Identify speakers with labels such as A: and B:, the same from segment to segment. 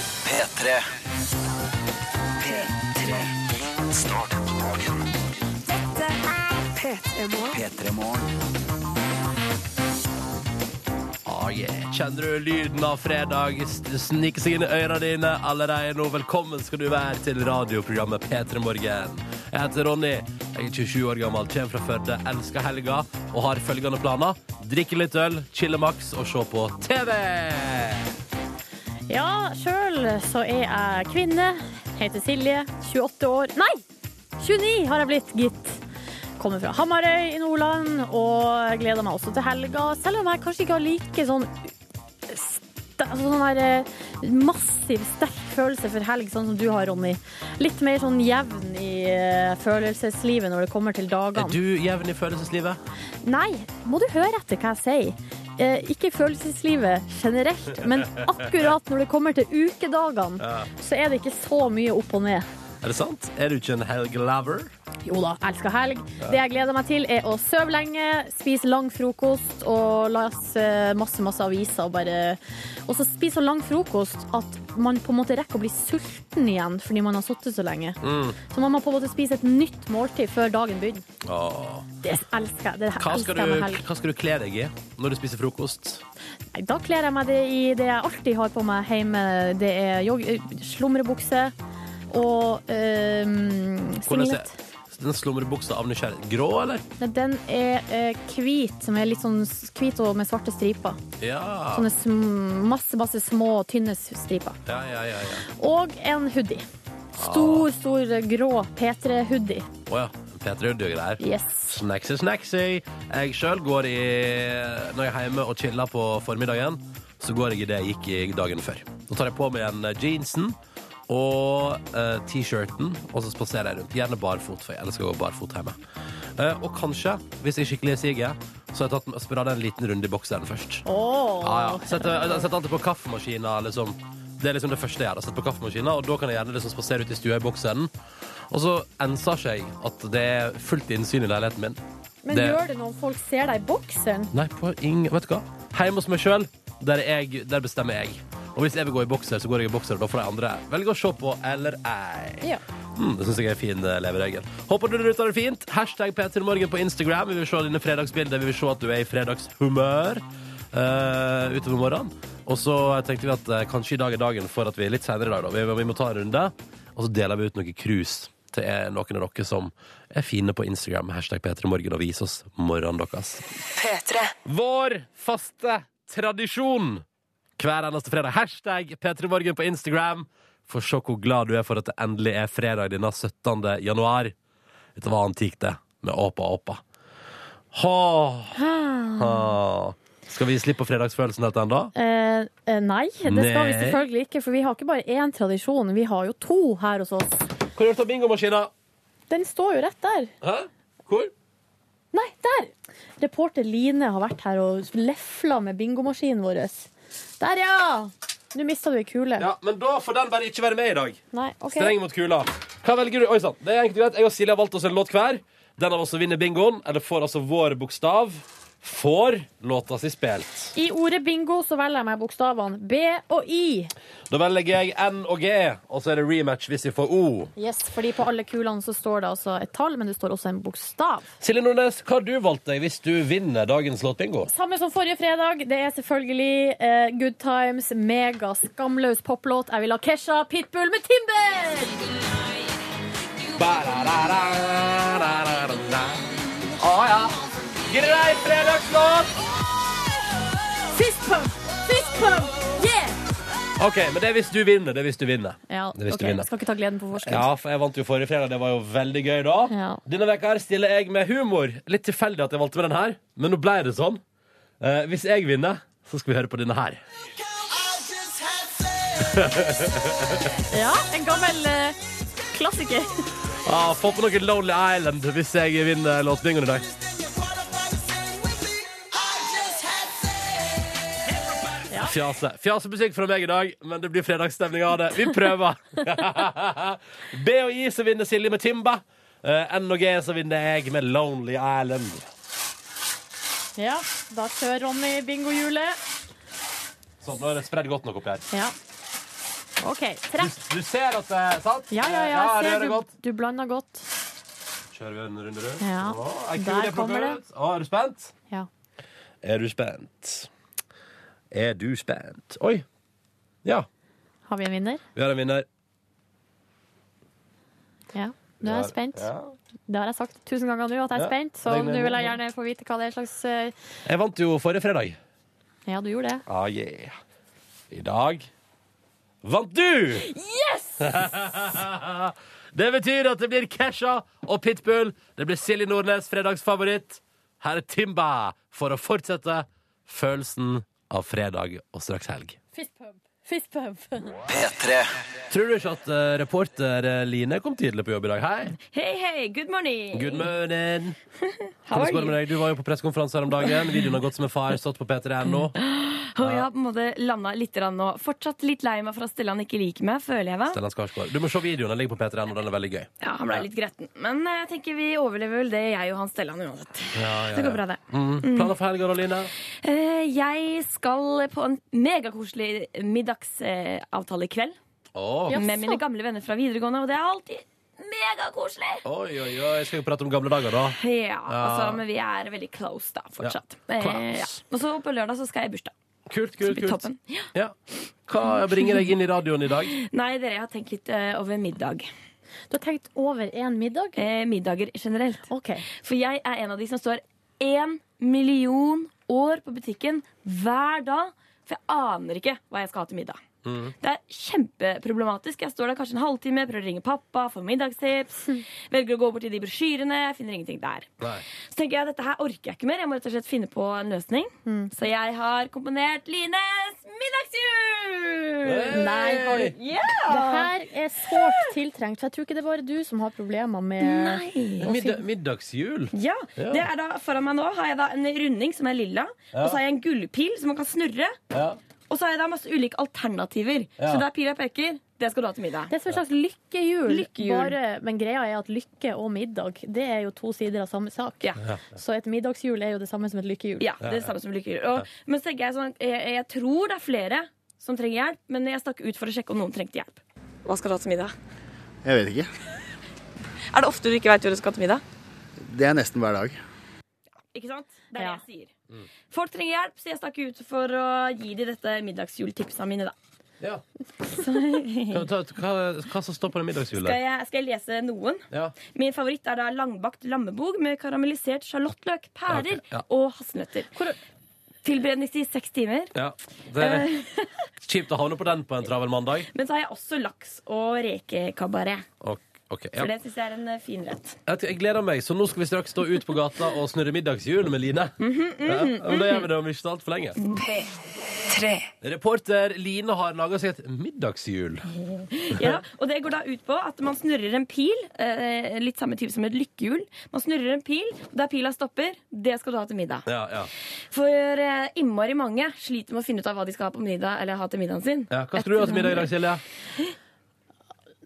A: P3. P3. Start på dagen. P3 Morgen.
B: Ah, yeah. Kjenner du lyden av fredag s- snike seg inn i øra dine allerede nå? Velkommen skal du være til radioprogrammet P3 Morgen. Jeg heter Ronny, jeg er 27 år gammel, kommer fra Førde, elsker helga og har følgende planer. Drikke litt øl, chille maks og se på TV!
C: Ja, sjøl så er jeg kvinne. Heter Silje. 28 år Nei! 29 har jeg blitt, gitt. Kommer fra Hamarøy i Nordland og gleder meg også til helga. Selv om jeg kanskje ikke har like sånn st- altså sånn her eh, massiv, sterk følelse for helg, sånn som du har, Ronny. Litt mer sånn jevn i eh, følelseslivet når det kommer til dagene.
B: Er du jevn i følelseslivet?
C: Nei, må du høre etter hva jeg sier. Eh, ikke følelseslivet generelt, men akkurat når det kommer til ukedagene, så er det ikke så mye opp og ned.
B: Er det sant? Er du ikke en helg-lover?
C: Jo da, jeg elsker helg. Det jeg gleder meg til, er å sove lenge, spise lang frokost og lese eh, masse, masse aviser og bare Og så spise så lang frokost at man på en måte rekker å bli sulten igjen fordi man har sittet så lenge.
B: Mm.
C: Så man må på en måte spise et nytt måltid før dagen begynner.
B: Åh.
C: Det elsker jeg. Det
B: Hva skal,
C: elsker jeg med
B: du,
C: helg.
B: hva skal du kle deg i når du spiser frokost?
C: Nei, Da kler jeg meg det i det jeg alltid har på meg hjemme. Det er jog- eh, slumrebukse og eh,
B: Hvordan er
C: singlet.
B: den slumrebuksa av nysgjerrighet? Grå, eller?
C: Nei, Den er eh, hvit, som er litt sånn s- hvit og med svarte striper.
B: Ja.
C: Sånne sm masse, masse små, tynne s- striper.
B: Ja, ja, ja, ja.
C: Og en hoodie.
B: Ah.
C: Stor, stor eh, grå P3-hoodie.
B: Å ja. Peter Udde og greier.
C: Yes.
B: Snacksy, snacksy. Jeg sjøl går i Når jeg er hjemme og chiller på formiddagen, så går jeg i det jeg gikk i dagen før. Da tar jeg på meg en eh, jeansen og eh, T-shirten, og så spaserer jeg rundt. Gjerne barfot, for jeg elsker å gå barfot hjemme. Eh, og kanskje, hvis jeg skikkelig siger, så har jeg tatt sprada en liten runde i bokseren først.
C: Åh.
B: Ja, ja. Setter, jeg setter alltid på kaffemaskina, liksom. Det er liksom det første jeg gjør. da. Setter på kaffemaskina, og da kan jeg gjerne liksom spasere ut i stua i bokseren. Og så enser ikke jeg at det er fullt innsyn i leiligheten min.
C: Men
B: Det-
C: gjør det når folk ser deg i bokseren?
B: Nei, på ing... Vet du hva? Hjemme hos meg sjøl, der, er jeg- der bestemmer jeg. Og hvis jeg vil gå i bokser, så går jeg i bokser, og da får de andre velge å se på eller ei.
C: Ja.
B: Mm, det syns jeg er en fin eh, leveregel. Håper du der ute har det fint. Hashtag P3morgen på Instagram. Vi vil se dine fredagsbilder. Vi vil se at du er i fredagshumør eh, utover morgenen. Og så tenkte vi at eh, kanskje i dag er dagen for at vi litt senere i dag, da. Vi, vi må ta en runde. Og så deler vi ut noe krus til eh, noen av dere som er fine på Instagram. Hashtag P3morgen og vis oss morgenen deres. Vår faste tradisjon hver eneste fredag. Hashtag P3morgen på Instagram. For se hvor glad du er for at det endelig er fredag denne 17. januar. Dette var antikt, det. Med Åpa Åpa. Hå.
C: Ah.
B: Hå. Skal vi slippe fredagsfølelsen helt ennå?
C: Eh, eh, nei, det skal vi
B: Nei.
C: selvfølgelig ikke. For vi har ikke bare én tradisjon, vi har jo to her hos oss.
B: Hvor er det av bingomaskina?
C: Den står jo rett der.
B: Hæ? Hvor?
C: Nei, der! Reporter Line har vært her og lefla med bingomaskinen vår. Der, ja! Nå mista du ei kule.
B: Ja, men da får den bare ikke være med i dag.
C: Nei, ok.
B: Streng mot kula. Hva velger du? Oi sann. Det er egentlig greit. Jeg og Silje har valgt oss en låt hver. Den av oss som vinner bingoen, eller får altså vår bokstav, får låta si spilt.
C: I ordet bingo så velger jeg meg bokstavene B og I.
B: Da velger jeg N og G, og så er det rematch hvis vi får O.
C: Yes, fordi på alle kulene så står det altså et tall, men det står også en bokstav.
B: Silje Nordnes, hva har du valgt deg hvis du vinner dagens låtbingo?
C: Samme som forrige fredag. Det er selvfølgelig eh, Good Times, mega skamløs poplåt. Jeg vil ha Kesha, Pitbull med Timber!
B: Å ja. Grei fredagslåt!
C: Fist pump! Fist pump! Yeah!
B: OK, men det er hvis du vinner. Det er hvis du vinner.
C: Ja,
B: Det visste
C: ok,
B: du, Line.
C: Skal ikke ta gleden på forskudd.
B: Ja, for jeg vant jo forrige fredag. Det var jo veldig gøy da.
C: Ja.
B: Denne veka her stiller jeg med humor. Litt tilfeldig at jeg valgte med den her, men nå ble det sånn. Eh, hvis jeg vinner, så skal vi høre på denne her.
C: Ja, en gammel eh, klassiker.
B: Ah, få på noe Lonely Island hvis jeg vinner låtbingoen i dag. Fjase. Fjasemusikk fra meg i dag, men det blir fredagsstemning av det. Vi prøver. B og I så vinner Silje med Timba. Eh, N og G så vinner jeg med Lonely Island.
C: Ja, da kjører Ronny bingohjulet.
B: Sånn, nå er det spredd godt nok oppi her.
C: Ja. OK, trekk.
B: Du ser at det er sant?
C: Ja, ja, ja.
B: det
C: Jeg
B: er
C: ser
B: godt.
C: du, du blander godt.
B: Kjører vi en runde rundt?
C: Ja.
B: Å, er
C: Der
B: kul, jeg
C: kommer
B: plukker
C: det.
B: ut. Å, er du spent?
C: Ja.
B: Er du spent? Er du spent? Oi. Ja,
C: Har vi en vinner?
B: vi har en vinner.
C: Ja. Nå er jeg spent.
B: Ja.
C: Det har jeg sagt tusen ganger nå, at jeg
B: Ja,
C: er spent, så
B: det er
C: nå
B: greit.
C: vil jeg gjerne få vite hva det er slags eh,
B: Jeg vant jo forrige fredag.
C: Ja, du gjorde det.
B: Ah, yeah. I dag vant du!
C: Yes!
B: Det betyr at det blir Kesha og Pitbull. Det blir Silje Nordnes, fredagsfavoritt. Her er Timba for å fortsette følelsen av fredag og straks helg.
C: Fist pump. Fist pump.
A: P3
B: Tror du ikke at eh, reporter eh, Line kom tidlig på jobb i dag? Hei,
D: Hei, hei, good morning!
B: good morning!
D: How are
B: Hvordan går det med
D: you?
B: deg? Du var jo på pressekonferanse her om dagen. Videoen har gått som en far, stått på p3.no.
D: Å, jeg har på en måte landa litt grann nå. Fortsatt litt lei meg for at Stellan ikke liker meg, føler jeg. Hva?
B: Stellan Skarsgård. Du må se videoen. Den ligger på p3.no. Den er veldig gøy.
D: Ja, Han ble litt gretten. Men eh, jeg tenker vi overlever vel det, jeg og han Stellan uansett. Det går bra, det.
B: Mm. Planer for helga, da, Line?
D: Eh, Jeg skal på en megakoselig middagsavtale i kveld
B: Åh.
C: Ja. Jaså.
D: med mine gamle venner fra videregående, og det er alltid megakoselig!
B: Oi, oi, oi. Jeg skal jo prate om gamle dager, da.
D: Ja, altså, men vi er veldig close da, fortsatt.
B: Ah. Ja,
D: Eh,
B: close.
D: Ja. Og så på lørdag så skal jeg i bursdag.
B: Kult,
D: Så
B: kult,
D: blir
B: kult.
D: toppen.
B: Ja. Hva bringer deg inn i radioen i dag?
D: Nei, dere, jeg har tenkt litt eh, over middag.
C: Du har tenkt over én middag?
D: Eh, middager generelt.
C: OK.
D: For jeg er en av de som står én million år på butikken hver dag. For jeg aner ikke hva jeg skal ha til middag. Det er kjempeproblematisk. Jeg står der kanskje en halvtime, prøver å ringe pappa, får middagstips. Velger å gå bort til de brosjyrene, finner ingenting der.
B: Nei.
D: Så tenker jeg at dette her orker jeg ikke mer. Jeg må rett og slett finne på en løsning. Så jeg har komponert Lines middagshjul!
C: Nei, har du- Det
D: Ja!
C: her er sårt tiltrengt, for jeg tror ikke det er bare du som har problemer med
D: Nei.
B: Middag, middagshjul?
D: Ja,
B: Ja.
D: det er da Foran meg nå har jeg da en runding som er lilla, og så har jeg en gullpil som man kan snurre.
B: Ja.
D: Og så har jeg da masse ulike alternativer.
B: Ja.
D: Så der pila peker, det skal du ha til middag.
C: Det er som et slags lykkehjul.
D: Lykkehjul.
C: Bare, men greia er at lykke og middag Det er jo to sider av samme sak.
D: Ja.
C: Så et middagshjul er jo det samme som et lykkehjul.
D: Ja, det er det samme som lykkehjul. Og- Men så tenker jeg sånn, jeg, jeg tror det er flere som trenger hjelp, men jeg stakk ut for å sjekke om noen trengte hjelp. Hva skal du ha til middag?
E: Jeg vet ikke.
D: Er det ofte du ikke veit hva du skal ha til middag?
E: Det er nesten hver dag.
D: Ikke sant? Det er
C: Ja.
D: det jeg sier. Folk trenger hjelp, så jeg stakk ut for å gi dem dette middagshjultipsa mine, da.
B: ja. Kan du ta et- Hva, hva som står på det
D: Skal
B: middagshjulet?
D: jeg, skal jeg lese noen?
B: Ja.
D: Min favoritt er da langbakt lammebog med karamellisert sjalottløk, pærer
B: Ok, ja.
D: og hasselnøtter. Tilberedningstid i seks timer.
B: ja. Det er kjipt å havne på den på en travel mandag.
D: Men så har jeg også laks og rekekabaret.
B: Og, ok, ja.
D: For det syns jeg er en eh, fin rett.
B: Jeg jeg gleder meg, så nå skal vi straks stå ut på gata og snurre middagshjul med Line. ja, men da gjør vi det om ikke så altfor lenge. Reporter Line har laga seg et middagshjul.
D: Ja, og det går da ut på at man snurrer en pil, eh, litt samme type som et lykkehjul. Man snurrer en pil, og der pila stopper, det skal du ha til middag.
B: Ja, ja.
D: For eh, innmari mange sliter med å finne ut av hva de skal ha på middag, eller ha til middagen sin.
B: ja. Hva skal du ha til middag i dag, Silje?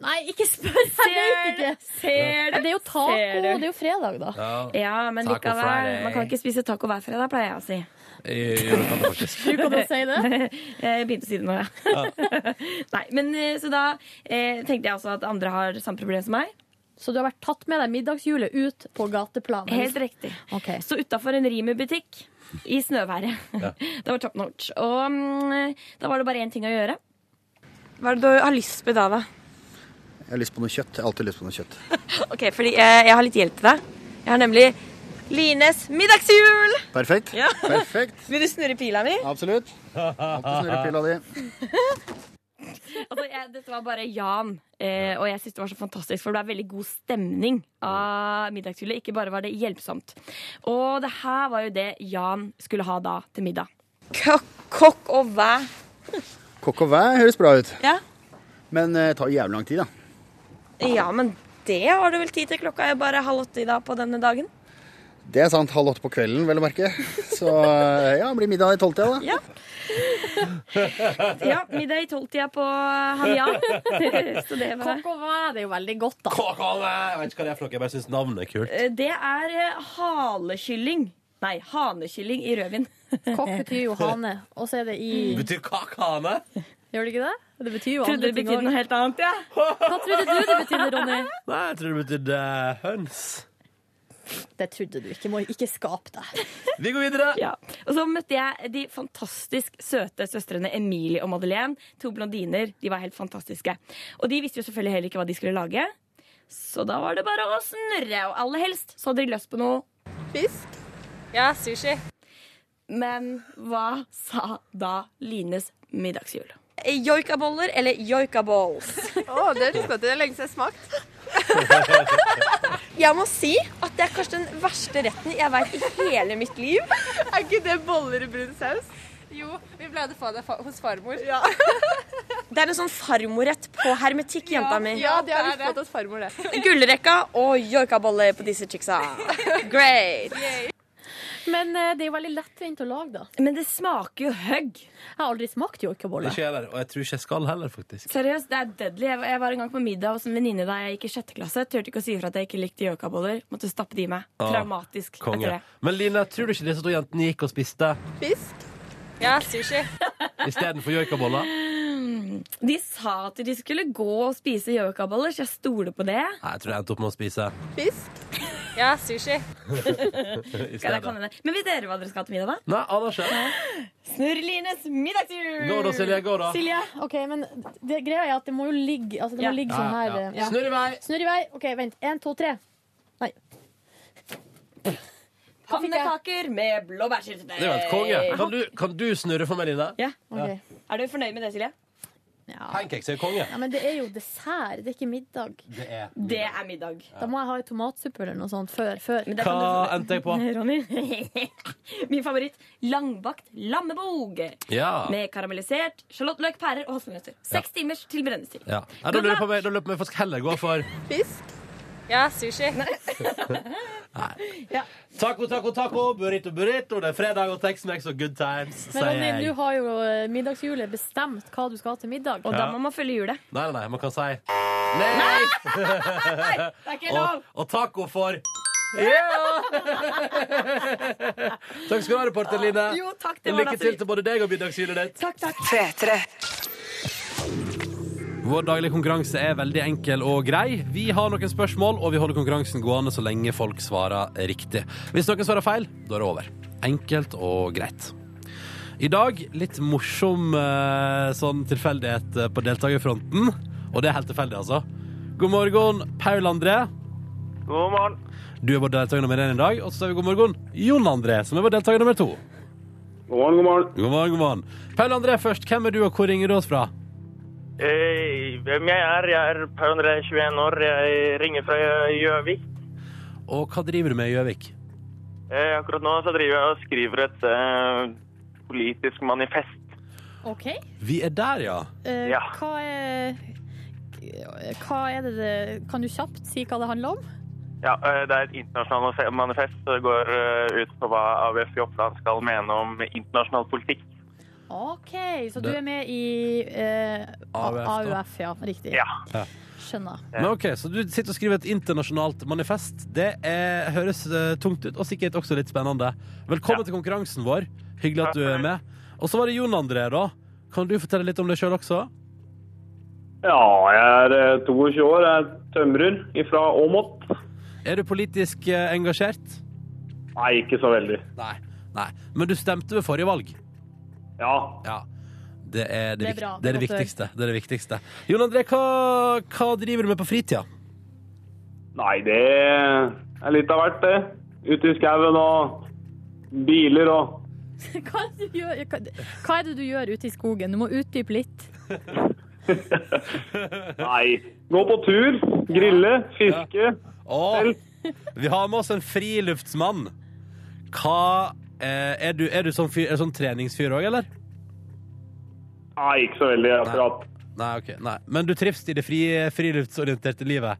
C: Nei, ikke spør! Jeg vet
D: Ser
C: ikke.
D: du? Ser
C: Det
D: du?
C: er jo taco,
D: Ser du?
C: det er jo fredag, da.
B: Ja.
D: Ja, men
B: Taco
D: likevel.
B: Friday.
D: Man kan ikke spise taco hver fredag, pleier jeg å si.
B: Jo, det kan du faktisk.
C: Bruker du å si det?
D: Jeg begynte å si det nå, ja. Nei, men eh, Så da eh, tenkte jeg også at andre har samme problem som meg.
C: Så du har vært tatt med deg middagshjulet ut på gateplan?
D: Helt riktig.
C: Ok.
D: Så utafor en Rimi-butikk i snøværet. Det var top notch. Og mm, da var det bare én ting å gjøre. Hva er det du har lyst på da, da?
E: Jeg har lyst på noe kjøtt. Jeg har alltid lyst på noe kjøtt.
D: Ok, fordi jeg, har litt hjelp til deg. Jeg har nemlig Lines middagshjul!
E: Perfekt. Perfekt.
D: Vil du snurre pila mi?
E: Absolutt. Alltid snurre pila di.
D: Altså, jeg, dette var bare Jan, eh, og jeg synes det var så fantastisk, for det ble veldig god stemning av middagshjulet. Ikke bare var det hjelpsomt. Og det her var jo det Jan skulle ha da til middag. Kokk og væ.
E: Kokk og væ høres bra ut.
D: Ja.
E: Men eh, det tar jævlig lang tid, da.
D: ja, men det har du vel tid til. Klokka er bare halv åtte i dag på denne dagen.
E: Det er sant. Halv åtte på kvelden, vel å merke. Så eh, ja, det blir middag i tolvtida, da.
D: Ja. ja, middag i tolvtida på han Jan. så det var
C: Coq au vin, det er jo veldig godt, da.
B: Kåkane! Jeg vet ikke hva det er for noe, jeg bare syns navnet er kult.
D: Eh, Det er eh, halekylling. Nei, hanekylling i rødvin.
C: Kokk betyr jo hane, og så er det i
B: Betyr kakane?
C: Gjør det ikke det? Det betyr jo
D: Trodde
C: andre
D: det
C: ting
D: betydde noe
C: også.
D: helt annet, ja.
C: Hva trodde du det betydde, Ronny?
B: Nei, jeg tror det betydde eh, høns.
C: Det trodde du ikke. Må ikke skape deg.
B: Vi går videre.
D: ja. Og så møtte jeg de fantastisk søte søstrene Emilie og Madeleine. To blondiner. De var helt fantastiske. Og de visste jo selvfølgelig heller ikke hva de skulle lage. Så da var det bare å snurre, og aller helst så hadde de lyst på noe
F: Ja, sushi.
D: Men hva sa da Lines middagshjul?
F: Joikaboller eller joikaballs? Å, det er litt godt. Det er lenge siden jeg har smakt. jeg må si at det er kanskje den verste retten jeg vet i hele mitt liv. Er ikke det boller i brun saus? Jo, vi pleide å få det hos farmor. Ja,
G: Det er en sånn farmorrett på hermetikk, jenta mi.
F: det har vi fått hos farmor, det.
G: Gullrekka og joikaboller på disse chicksa. Great!
C: Men eh, det er jo veldig lettvint å lage, da.
D: Men det smaker jo høgg.
C: Jeg har aldri smakt joikaboller.
B: Ikke jeg heller, og jeg tror ikke jeg skal heller, faktisk.
D: Seriøst, det er deadly. Jeg var- Jeg var en gang på middag hos en venninne da jeg gikk i sjette klasse. Turte ikke å si ifra at jeg ikke likte yogaboller. Måtte stappe de i meg.
B: Ah,
D: Traumatisk etter
B: Konge.
D: det.
B: Men Line, tror du ikke disse to jentene gikk og spiste
F: Fisk.
G: Ja, sushi.
B: istedenfor joikaboller?
D: De sa at de skulle gå og spise yogaboller, så jeg stoler på det.
B: Nei, jeg tror jeg endte opp med å spise
F: Fisk.
G: Ja, sushi.
B: i
D: Ja, det
B: stedet.
D: kan hende. Men vet dere hva dere skal ha til middag, da?
B: Nei, aner ikke.
D: Snurrelines middagshjul!
B: Gå da, Silje. Gå da.
C: Silje, ok, men det, greia er at det må jo ligge, altså, det
D: Ja.
C: må ligge sånn her. eh, ja.
B: Snurr i vei.
C: Snurr i vei. OK, vent. Én, to, tre.
D: Pannekaker med blåbærsyltetøy.
B: Det var helt konge. Kan du, kan du snurre for meg, Line?
D: Ja.
C: Ok.
D: Er du fornøyd med det, Silje?
C: Ja.
B: Pancakes er konge.
C: ja, men det er jo dessert, det er ikke middag.
B: Det er
D: Det er middag.
C: Da må jeg ha en tomatsuppe eller noe sånt før. før.
D: Men det
B: Hva
D: kan du få-
B: endte jeg på?
D: Ronny. Min favoritt. Langbakt lammebog.
B: Ja.
D: Med karamellisert sjalottløk, pærer og hasselnøtter. Seks timers til brennestid.
B: Ja. Nei, da lurer jeg på meg, da lurer jeg på om jeg faktisk heller går for
F: Fisk.
G: Ja, sushi.
B: taco, taco, taco, burrito, burrito. Det er fredag og Tex-Mex og good times,
C: Men
B: sier
C: Ronny,
B: jeg.
C: du har jo eh, middagshjulet bestemt hva du skal ha til middag.
D: Og da må man følge hjulet.
B: Nei, nei, nei, man kan si Nei!
D: Det er ikke
B: Og, og taco for Ja! Takk skal du ha, reporter Line.
D: Jo, takk, det
B: Og
D: var
B: lykke
D: da
B: til
D: fint.
B: til både deg og middagshylet ditt.
D: Takk, takk.
B: Vår daglige konkurranse er veldig enkel og grei. Vi har noen spørsmål, og vi holder konkurransen gående så lenge folk svarer riktig. Hvis noen svarer feil, da er det over. Enkelt og greit. I dag litt morsom eh, sånn tilfeldighet eh, på deltakerfronten. Og det er helt tilfeldig, altså. God morgen, Paul André.
H: God morgen.
B: Du er vår deltaker nummer én i dag. Og så sier vi god morgen, Jon André, som er vår deltaker nummer to.
H: God morgen, god morgen.
B: God morgen, god morgen. Paul André først, hvem er du, og hvor ringer du oss fra?
H: Eh, hvem jeg er? Jeg er Paul André, 21 år. Jeg ringer fra Gjøvik.
B: Og hva driver du med i Gjøvik?
H: Eh, akkurat nå så driver jeg og skriver et eh, politisk manifest.
C: OK?
B: Vi er der, ja.
C: Eh,
H: Ja.
C: Hva er hva er det det Kan du kjapt si hva det handler om?
H: Ja, eh, Det er et internasjonalt fe- manifest. så Det går eh, ut på hva AUF i Oppland skal mene om internasjonal politikk.
C: OK, så du
B: Det-
C: er med i eh,
B: AUF, da.
C: AUF, ja. Riktig.
H: Ja.
C: Skjønner.
B: Men ok, Så du sitter og skriver et internasjonalt manifest. Det er, høres eh, tungt ut, og sikkert også litt spennende. Velkommen til konkurransen vår. Hyggelig at du er med. Og så var det Jon André, da. Kan du fortelle litt om deg sjøl også?
H: Ja, jeg er 22 år. Jeg er tømrer fra Åmot.
B: Er du politisk eh, engasjert?
H: Nei, ikke så veldig.
B: Nei. Nei. Men du stemte ved forrige valg.
H: Ja.
B: Ja. Det er det,
C: Det er
B: vik-
C: bra.
B: det, er det
C: Godt å høre.
B: viktigste. Det er det viktigste. Jon André, hva, hva driver du med på fritida?
H: Nei, det er litt av hvert, det. Ute i skauen og biler og
C: Hva er, det du gjør, hva, hva er det du gjør ute i skogen? Du må utdype litt.
H: Nei. Gå på tur, grille, fiske.
B: Å, vi har med oss en friluftsmann. Hva eh, Er du, er du sånn, fyr, er du sånn treningsfyr òg, eller?
H: Nei, ikke så veldig akkurat.
B: Nei, ok. Nei. Men du trives i det frie, friluftsorienterte livet?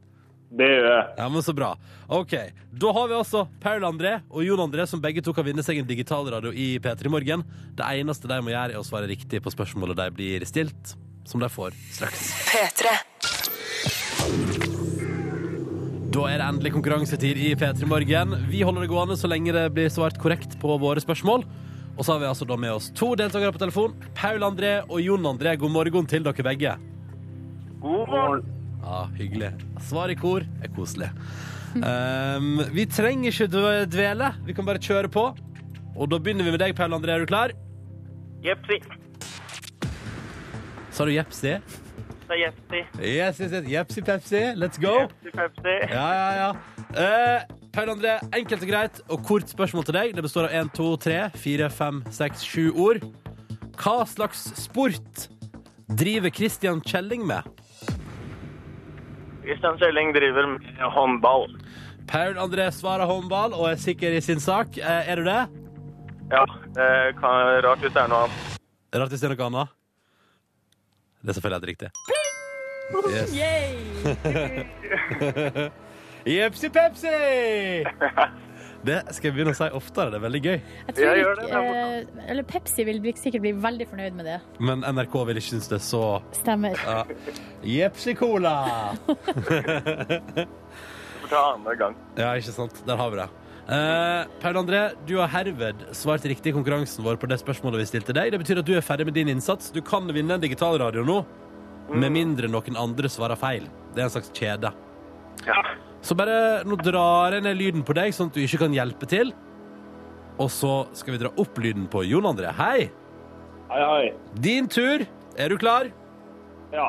H: Det gjør jeg.
B: Ja, men så bra. Ok, Da har vi altså Paul André og Jon André, som begge to kan vinne seg en digitalradio i P3 Morgen. Det eneste de må gjøre, er å svare riktig på spørsmålet de blir stilt, som de får straks. Da er det endelig konkurransetid i P3 Morgen. Vi holder det gående så lenge det blir svart korrekt på våre spørsmål. Og så har vi altså da med oss to deltakere på telefon. Paul André og Jon André, god morgen til dere begge.
H: God morgen.
B: Ja, Ah, hyggelig. Svar i kor er koselig. Um, vi trenger ikke dve- dvele, vi kan bare kjøre på. Og da begynner vi med deg, Paul André. Er du klar?
I: Jepsi.
B: Sa du Jepsi?
I: Det er Jepsi.
B: Yes, yes, yes. Jepsi Pepsi, let's go.
I: Jepsi Pepsi.
B: Ja, ja, ja. Eh, Paul André, enkelt og greit og kort spørsmål til deg. Det består av 1, 2, 3, 4, 5, 6, 7 ord. Hva slags sport driver Christian Kjelling med?
I: Kristian Kjelling driver med håndball.
B: Paul André svarer håndball og er sikker i sin sak. Eh, er du det?
I: Ja, det kan rart hvis det er noe annet.
B: Rart hvis det er noe annet. Det er selvfølgelig helt riktig. Yes. Jepsi pepsi! Det skal jeg begynne å si oftere. Det er veldig gøy.
C: Jeg
I: Jeg
C: tror
I: gjør det,
C: ikke,
I: det er
C: eh, eller Pepsi vil bli, sikkert bli veldig fornøyd med det.
B: Men NRK vil ikke synes det er så
C: Stemmer.
B: ja. Jepsi cola!
I: Vi får ta andre gang.
B: Ja, ikke sant. Der har vi det. Eh, Paul André, du har herved svart riktig i konkurransen vår på det spørsmålet vi stilte deg. Det betyr at du er ferdig med din innsats. Du kan vinne en digitalradio nå,
I: Mm.
B: med mindre noen andre svarer feil. Det er en slags kjede.
I: Ja.
B: Så bare nå drar jeg ned lyden på deg, sånn at du ikke kan hjelpe til. Og så skal vi dra opp lyden på Jon André. Hei!
H: Hei, hei.
B: Din tur. Er du klar?
H: Ja.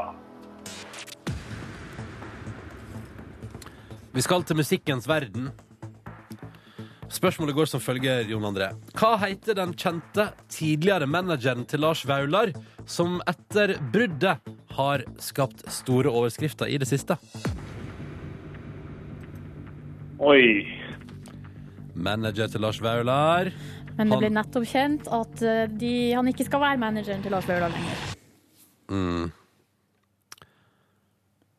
B: Vi skal til musikkens verden. Spørsmålet går som følger, Jon André. Hva heter den kjente tidligere manageren til Lars Vaular, som etter bruddet har skapt store overskrifter i det siste?
H: Oi.
B: Manager til Lars Vaular.
C: Men det
B: Han-
C: ble nettopp kjent at eh, de, han ikke skal være manageren til Lars Lørdal lenger.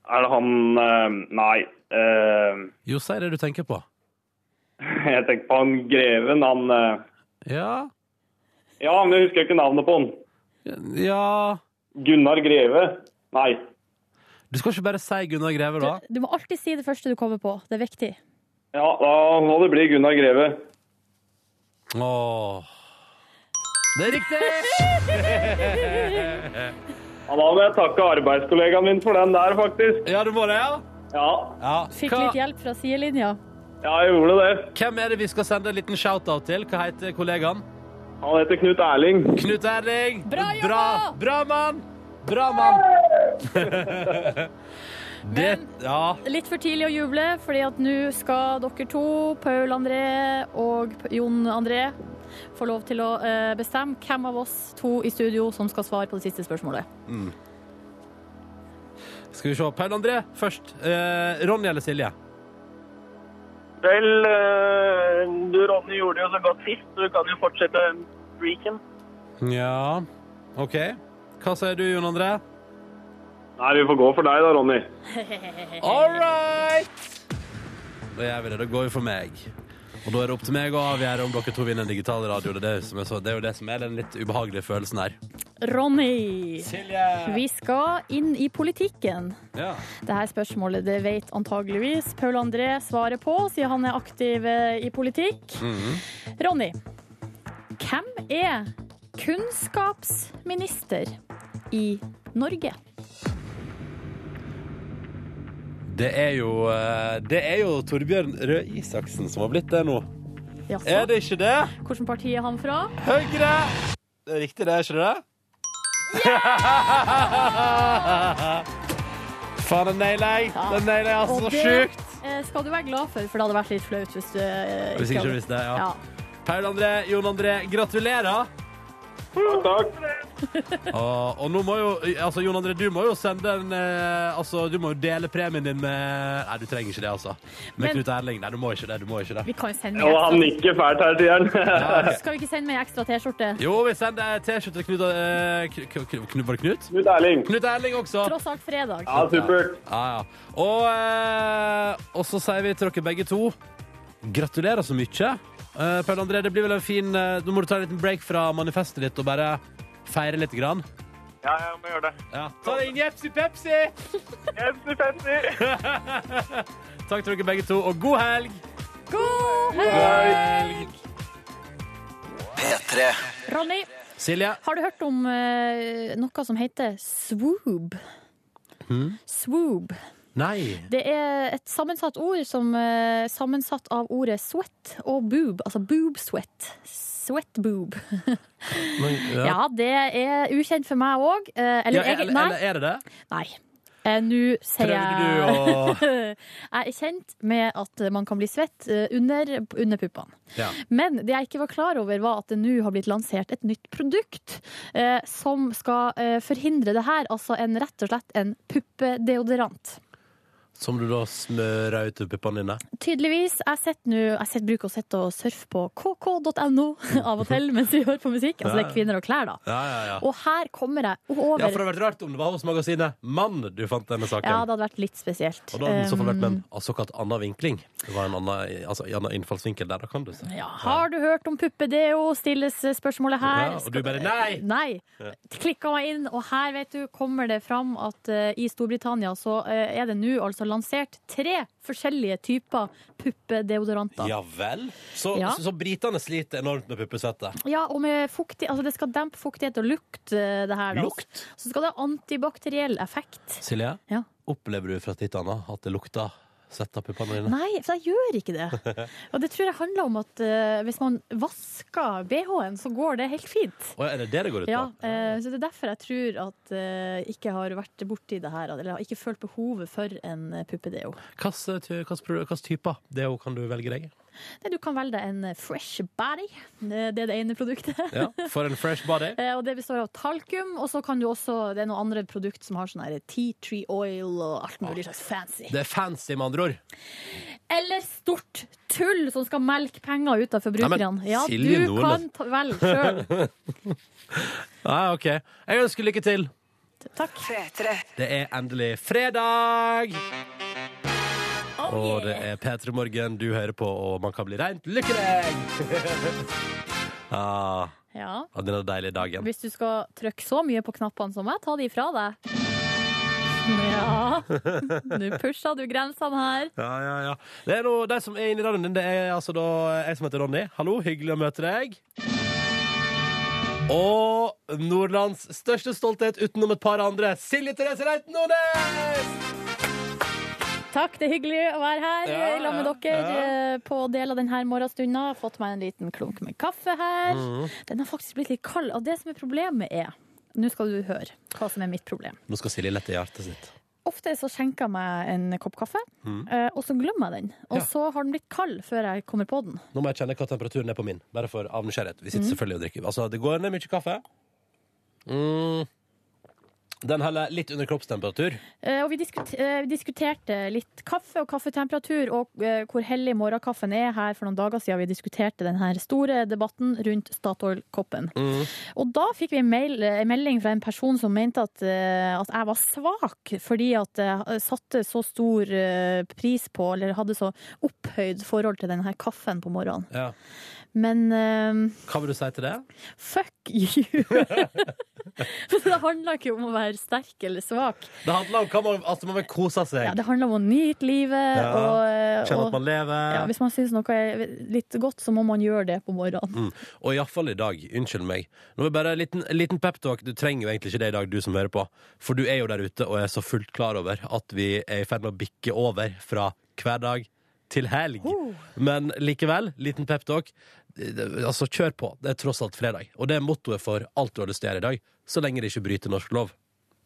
H: Er det han eh, Nei. eh,
B: Jo, si det du tenker på.
H: jeg tenker på han Greven. Han eh,
B: Ja
H: Ja, men jeg husker ikke navnet på han.
B: Ja
H: Gunnar Greve. Nei.
B: Du skal ikke bare si Gunnar Greve, da?
C: Du, du må alltid si det første du kommer på. Det er viktig.
H: Ja, da må det bli Gunnar Greve.
B: Åh. Det er riktig!
H: Ja, da må jeg takke arbeidskollegaen min for den der, faktisk.
B: Ja, du må det, ja?
H: Ja,
B: ja.
C: Fikk litt hjelp fra sidelinja.
H: ja jeg gjorde det.
B: Hvem er det vi skal sende en liten shout-out til? Hva heter kollegaen?
H: Han heter Knut Erling.
B: Knut Erling!
C: Bra jobba!
B: Bra, bra mann! Bra mann! det Ja.
C: Litt for tidlig å juble, fordi at nå skal dere to, Paul André og P- Jon André, få lov til å eh, bestemme hvem av oss to i studio som skal svare på det siste spørsmålet.
B: Skal vi se. Paul André først. Eh, Ronny eller Silje?
I: Vel, eh, du Ronny gjorde jo så godt sist, så du kan jo fortsette streaken.
B: Ja. OK. Hva sier du, Jon André?
H: Nei, vi får gå for deg da, Ronny.
B: All right! Da gjør vi det. Da går vi for meg. Og da er det opp til meg å avgjøre om dere to vinner en digital radio. Det er, det som er, så, det er jo det som er den litt ubehagelige følelsen her.
C: Ronny, vi skal inn i politikken.
B: Ja.
C: Dette spørsmålet det vet antageligvis Paul André svaret på, siden han er aktiv eh, i politikk.
B: Mhm.
C: Ronny, hvem er kunnskapsminister i Norge?
B: Det er jo, eh, det er jo Torbjørn Røe Isaksen som har blitt det nå.
C: Jaså,
B: Er det ikke det?
C: Hvilket parti er han fra?
B: Høyre! Det er riktig, det, er ikke det? Faen, den nailer jeg. Den nailer jeg altså
C: Og
B: så
C: det-
B: sjukt.
C: Eh, skal du være glad for, for det hadde vært litt flaut hvis du eh,
B: Hvis ikke du visste det, ja.
C: Ja.
B: Paul André, Jon André, gratulerer.
H: Takk, takk.
B: Og, og nå må jo Altså, Jon André, du må jo sende en eh, Altså, du må jo dele premien din med Nei, du trenger ikke det, altså. Med
C: Men-
B: Knut Erling. Nei, du må ikke det. Du må ikke det.
C: Vi kan jo sende
H: Og han
C: med ekstra.
H: nikker fælt her, sier han.
C: Skal vi ikke sende med ekstra T-skjorte?
B: Jo, vi sender ei T-skjorte til Knut eh, Kn- Kn- Kn- Var det Knut?
H: Knut Erling.
B: Knut Erling også.
C: Tross alt fredag.
H: Ja, supert.
B: Ja, ja. Og, eh, og så sier vi til dere begge to gratulerer så mye. Eh, Paul André, det blir vel en fin eh, Nå må du ta en liten break fra manifestet ditt og bare feire litt. Grann.
I: Ja, jeg må gjøre det.
B: Ja. Ta deg en Jepsi Pepsi!
I: Jepsi Pepsi!
B: Takk til dere begge to, og god helg!
C: God helg!
B: helg!
A: P3.
C: Ronny,
B: Silje?
C: Har du hørt om eh, noe som heter swoob?
B: Hm?
C: Swoob.
B: Nei.
C: Det er et sammensatt ord som eh, sammensatt av ordet sweat og boob. Altså boob sweat. Sweat boob.
B: Men,
C: Ja, det er ukjent for meg òg.
B: Ja,
C: Eller,
B: eller,
C: jeg-
B: eller,
C: nei.
B: er det det?
C: nei. Eh, Nå sier
B: Prøvde
C: jeg Jeg er kjent med at man kan bli svett eh, under, under puppene.
B: Ja.
C: Men det jeg ikke var klar over, var at det nå har blitt lansert et nytt produkt eh, som skal eh, forhindre det her. Altså en, rett og slett en puppedeodorant.
B: Som du da smører ut i puppene dine?
C: Tydeligvis. Jeg, sitter nå- jeg sitter- bruker å sitte og surfe på kk.no av og til mens vi hører på musikk. Altså det er kvinner og klær, da.
B: Ja, ja, ja.
C: Og her kommer jeg
B: Ja, for det
C: over
B: hadde vært rart om det var hos magasinet Mann du fant denne saken.
C: Ja, det hadde vært litt spesielt.
B: Og da hadde den i så fall vært med en
C: Um,
B: altså, såkalt annen vinkling. Det var en annen, altså, en annen innfallsvinkel der, da kan du se.
C: ja, har du hørt om puppedeo? Stilles eh, spørsmålet her.
B: Ja, og du bare, nei!
C: Nei. Klikka meg inn, og her vet du, kommer det fram at eh, i Storbritannia så eh, er det nå altså lansert tre forskjellige typer puppedeodoranter.
B: Ja vel? Så,
C: Ja.
B: så, så britene sliter enormt med puppesvette.
C: Ja, og med fuktig, altså det skal dempe fuktighet og lukt, eh, det her. da.
B: Lukt?
C: Så skal det ha antibakteriell effekt.
B: Silje,
C: Ja.
B: opplever du fra tid til annen at det lukter svett av puppene dine?
C: Nei, for jeg gjør ikke det. Og det tror jeg handler om at eh, hvis man vasker BH-en, så går det helt fint.
B: Å, er det det det går ut på?
C: Ja, eh, så det er derfor jeg tror at eh, ikke har vært borti det her, eller har ikke følt behovet for en eh, puppedeo.
B: Hvilke ty- hvilke pro- hvilke typer deo kan du velge deg?
C: Nei, du kan velge deg en eh, fresh body, Eh, det er det ene produktet.
B: Ja, For en fresh body?
C: Eh, Og det består av talkum, og så kan du også, det er noen andre produkt som har sånn her tea tree oil og alt mulig slags fancy.
B: Det er fancy, med andre ord.
C: Eller stort tull som skal melke penger ut av forbrukerne.
B: Nei, men,
C: Ja,
B: Silje
C: du kan
B: Nordnes.
C: ta- velge sjøl.
B: Ja, OK. Jeg ønsker lykke til.
C: Takk.
B: Det er endelig fredag! Og det er P3 Morgen du hører på, og man kan bli reint. Lykke deg! ah,
C: Ja.
B: ah, denne deilige dagen.
C: Hvis du skal trykke så mye på knappene, så må jeg ta de fra deg. Ja, nå pusha du grensene her.
B: Ja, ja, ja. Det er nå de som er inne i radioen din. Det er altså da jeg som heter Ronny. Hallo, hyggelig å møte deg. Og Nordlands største stolthet utenom et par andre, Silje Therese Reiten Nordnes!
C: Takk, det er hyggelig å være her
B: Ja,
C: i lag med
B: ja,
C: dere
B: ja.
C: eh, på del av denne morgenstunden. Fått meg en liten klunk med kaffe her.
B: Mm.
C: Den har faktisk blitt litt kald. Og det som er problemet, er Nå skal du høre hva som er mitt problem.
B: Nå skal Silje lette hjertet sitt.
C: Ofte så skjenker jeg meg en kopp kaffe, eh, og så glemmer jeg den. Og
B: Mm. Ja.
C: så har den blitt kald før jeg kommer på den.
B: Nå må jeg kjenne hva temperaturen er på min. Bare for av nysgjerrighet. Vi sitter selvfølgelig og drikker. Altså, det går ned mye kaffe. Mm. Den heller litt under kroppstemperatur.
C: Eh, Og vi, diskut eh, vi diskuterte litt kaffe og kaffetemperatur, og eh, hvor hellig morgenkaffen er her for noen dager siden. Vi diskuterte den her store debatten rundt Statoil-koppen. Og da fikk vi en, mail, eh, en melding fra en person som mente at, eh, at jeg var svak, fordi at jeg eh, satte så stor eh, pris på, eller hadde så opphøyd forhold til den her kaffen på morgenen.
B: Ja.
C: Men eh,
B: Hva vil du si til det?
C: fuck you! det handler ikke om å være sterk eller svak.
B: Det handler om hva man, at man vil kose seg.
C: Ja, det handler om å nyte livet.
B: Ja,
C: og, eh,
B: Kjenne
C: og,
B: at man lever.
C: ja, hvis man syns noe er litt godt, så må man gjøre det på morgenen.
B: Mm. Og iallfall i dag. Unnskyld meg. Nå er det bare en liten, en liten peptalk. Du trenger jo egentlig ikke det i dag, du som hører på. For du er jo der ute og er så fullt klar over at vi er i ferd med å bikke over fra hverdag til helg. Men likevel, liten peptalk. Altså, kjør på. Det er tross alt fredag. Og det er mottoet for alt du har lyst til å gjøre i dag. Så lenge det ikke bryter norsk lov.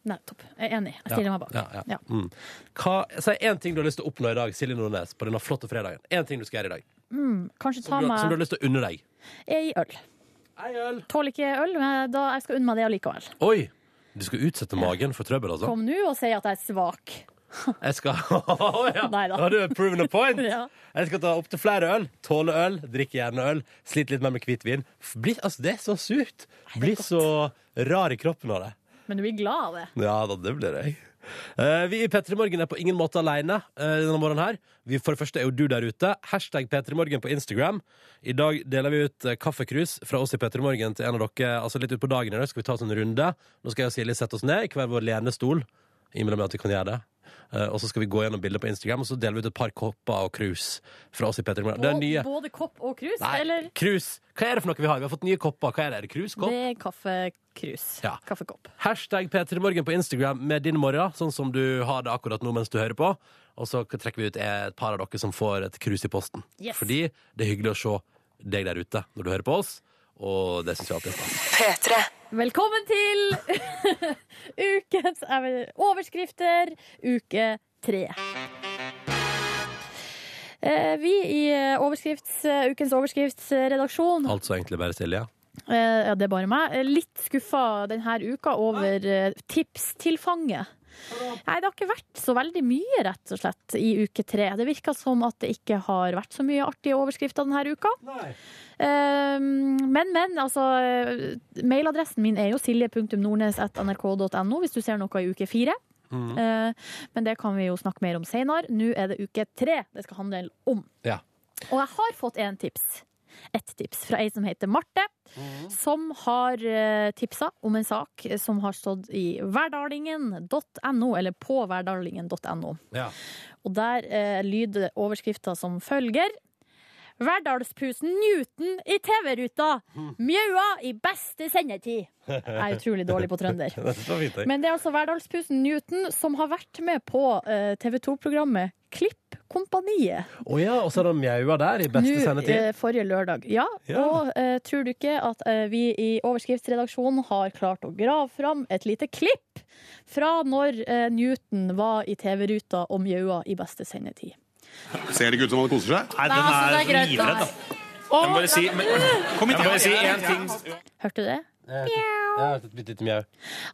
C: Nei, topp. Jeg er enig. Jeg stiller meg bak.
B: Ja, ja.
C: Ja.
B: Mm. Hva, si én ting du har lyst til å oppnå i dag, Silje Nordnes, på denne flotte fredagen. Én ting du skal gjøre i dag.
C: Kanskje ta
B: Som du, som du har
C: meg
B: lyst til å unne deg.
C: ei øl.
B: Ei øl.
C: Tåler ikke øl, men da jeg skal unne meg det allikevel.
B: Oi! Du skal utsette magen for trøbbel, altså?
C: Kom nå og si at jeg er svak.
B: Jeg skal Å, ja.
C: Neida.
B: Har du proven a point?
C: Ja.
B: Jeg skal ta opptil flere øl. Tåle øl, drikke gjerne øl. Slite litt mer med hvitvin. F- Bli, altså, det er så surt! Bli så rar i kroppen av det.
C: Men du blir glad av det.
B: Ja da, det blir jeg. Eh, vi i P3 Morgen er på ingen måte alene eh, denne morgenen her. Vi, for det første er jo du der ute. Hashtag P3 Morgen på Instagram. I dag deler vi ut eh, kaffekrus fra oss i P3 Morgen til en av dere. Altså litt utpå dagen i dag skal vi ta oss en runde. Nå skal jeg og Silje sette oss ned i hver vår lenestol. Innbiller meg at vi kan gjøre det. Eh, og så skal vi gå gjennom bilder på Instagram, og så deler vi ut et par kopper og krus fra oss i Petter Morgen. Det er nye.
C: Både kopp og krus?
B: Nei,
C: Eller?
B: krus! Hva er det for noe vi har? Vi har fått nye kopper. Hva er det? Er det krus? Kopp?
C: Det er kaffekrus.
B: Ja.
C: Kaffekopp.
B: Hashtag P3morgen på Instagram med din morgen, sånn som du har det akkurat nå mens du hører på. Og så trekker vi ut et par av dere som får et krus i posten.
C: Yes.
B: Fordi det er hyggelig å se deg der ute når du hører på oss, og det syns vi alltid er stas.
C: Velkommen til ukens overskrifter, uke tre. Eh, Vi i eh, overskrifts, eh, ukens overskriftsredaksjon
B: Altså egentlig bare Silje.
C: Eh, Ja, det er bare meg. Eh, Litt skuffa denne uka over eh, tipstilfanget. Nei, det har ikke vært så veldig mye, rett og slett, i uke tre. Det virker som at det ikke har vært så mye artige overskrifter denne uka. Eh, Men, men, altså eh, Mailadressen min er jo silje.nordnes.nrk.no hvis du ser noe i uke fire. Eh, Men det kan vi jo snakke mer om senere. Nå er det uke tre det skal handle om.
B: Ja.
C: Og jeg har fått en tips. Et tips fra ei som heter Marte, som har eh, tipsa om en sak eh, som har stått i verdalingen.no, eller på verdalingen.no.
B: Ja.
C: Og der eh, lyder overskrifta som følger. Verdalspusen Newton i TV-ruta! Mjaua i beste sendetid! Jeg er utrolig dårlig på trønder.
B: Det var fint, jeg.
C: Men det er altså Verdalspusen Newton som har vært med på eh, TV 2-programmet Klippkompaniet
B: Å ja, og så er det mjaua der i beste
C: nå,
B: sendetid.
C: eh, forrige lørdag. Ja,
B: Ja.
C: og eh, tror du ikke at eh, vi i Overskriftsredaksjonen har klart å grave fram et lite klipp fra når eh, Newton var i TV-ruta og mjaua i beste sendetid?
J: Ser det ikke ut som han koser seg?
I: Nei, den er, livredd, da.
C: Å,
I: Jeg må bare si, men, jeg må bare si en ting.
C: hørte du det?
B: Ja, et bitte lite mjau.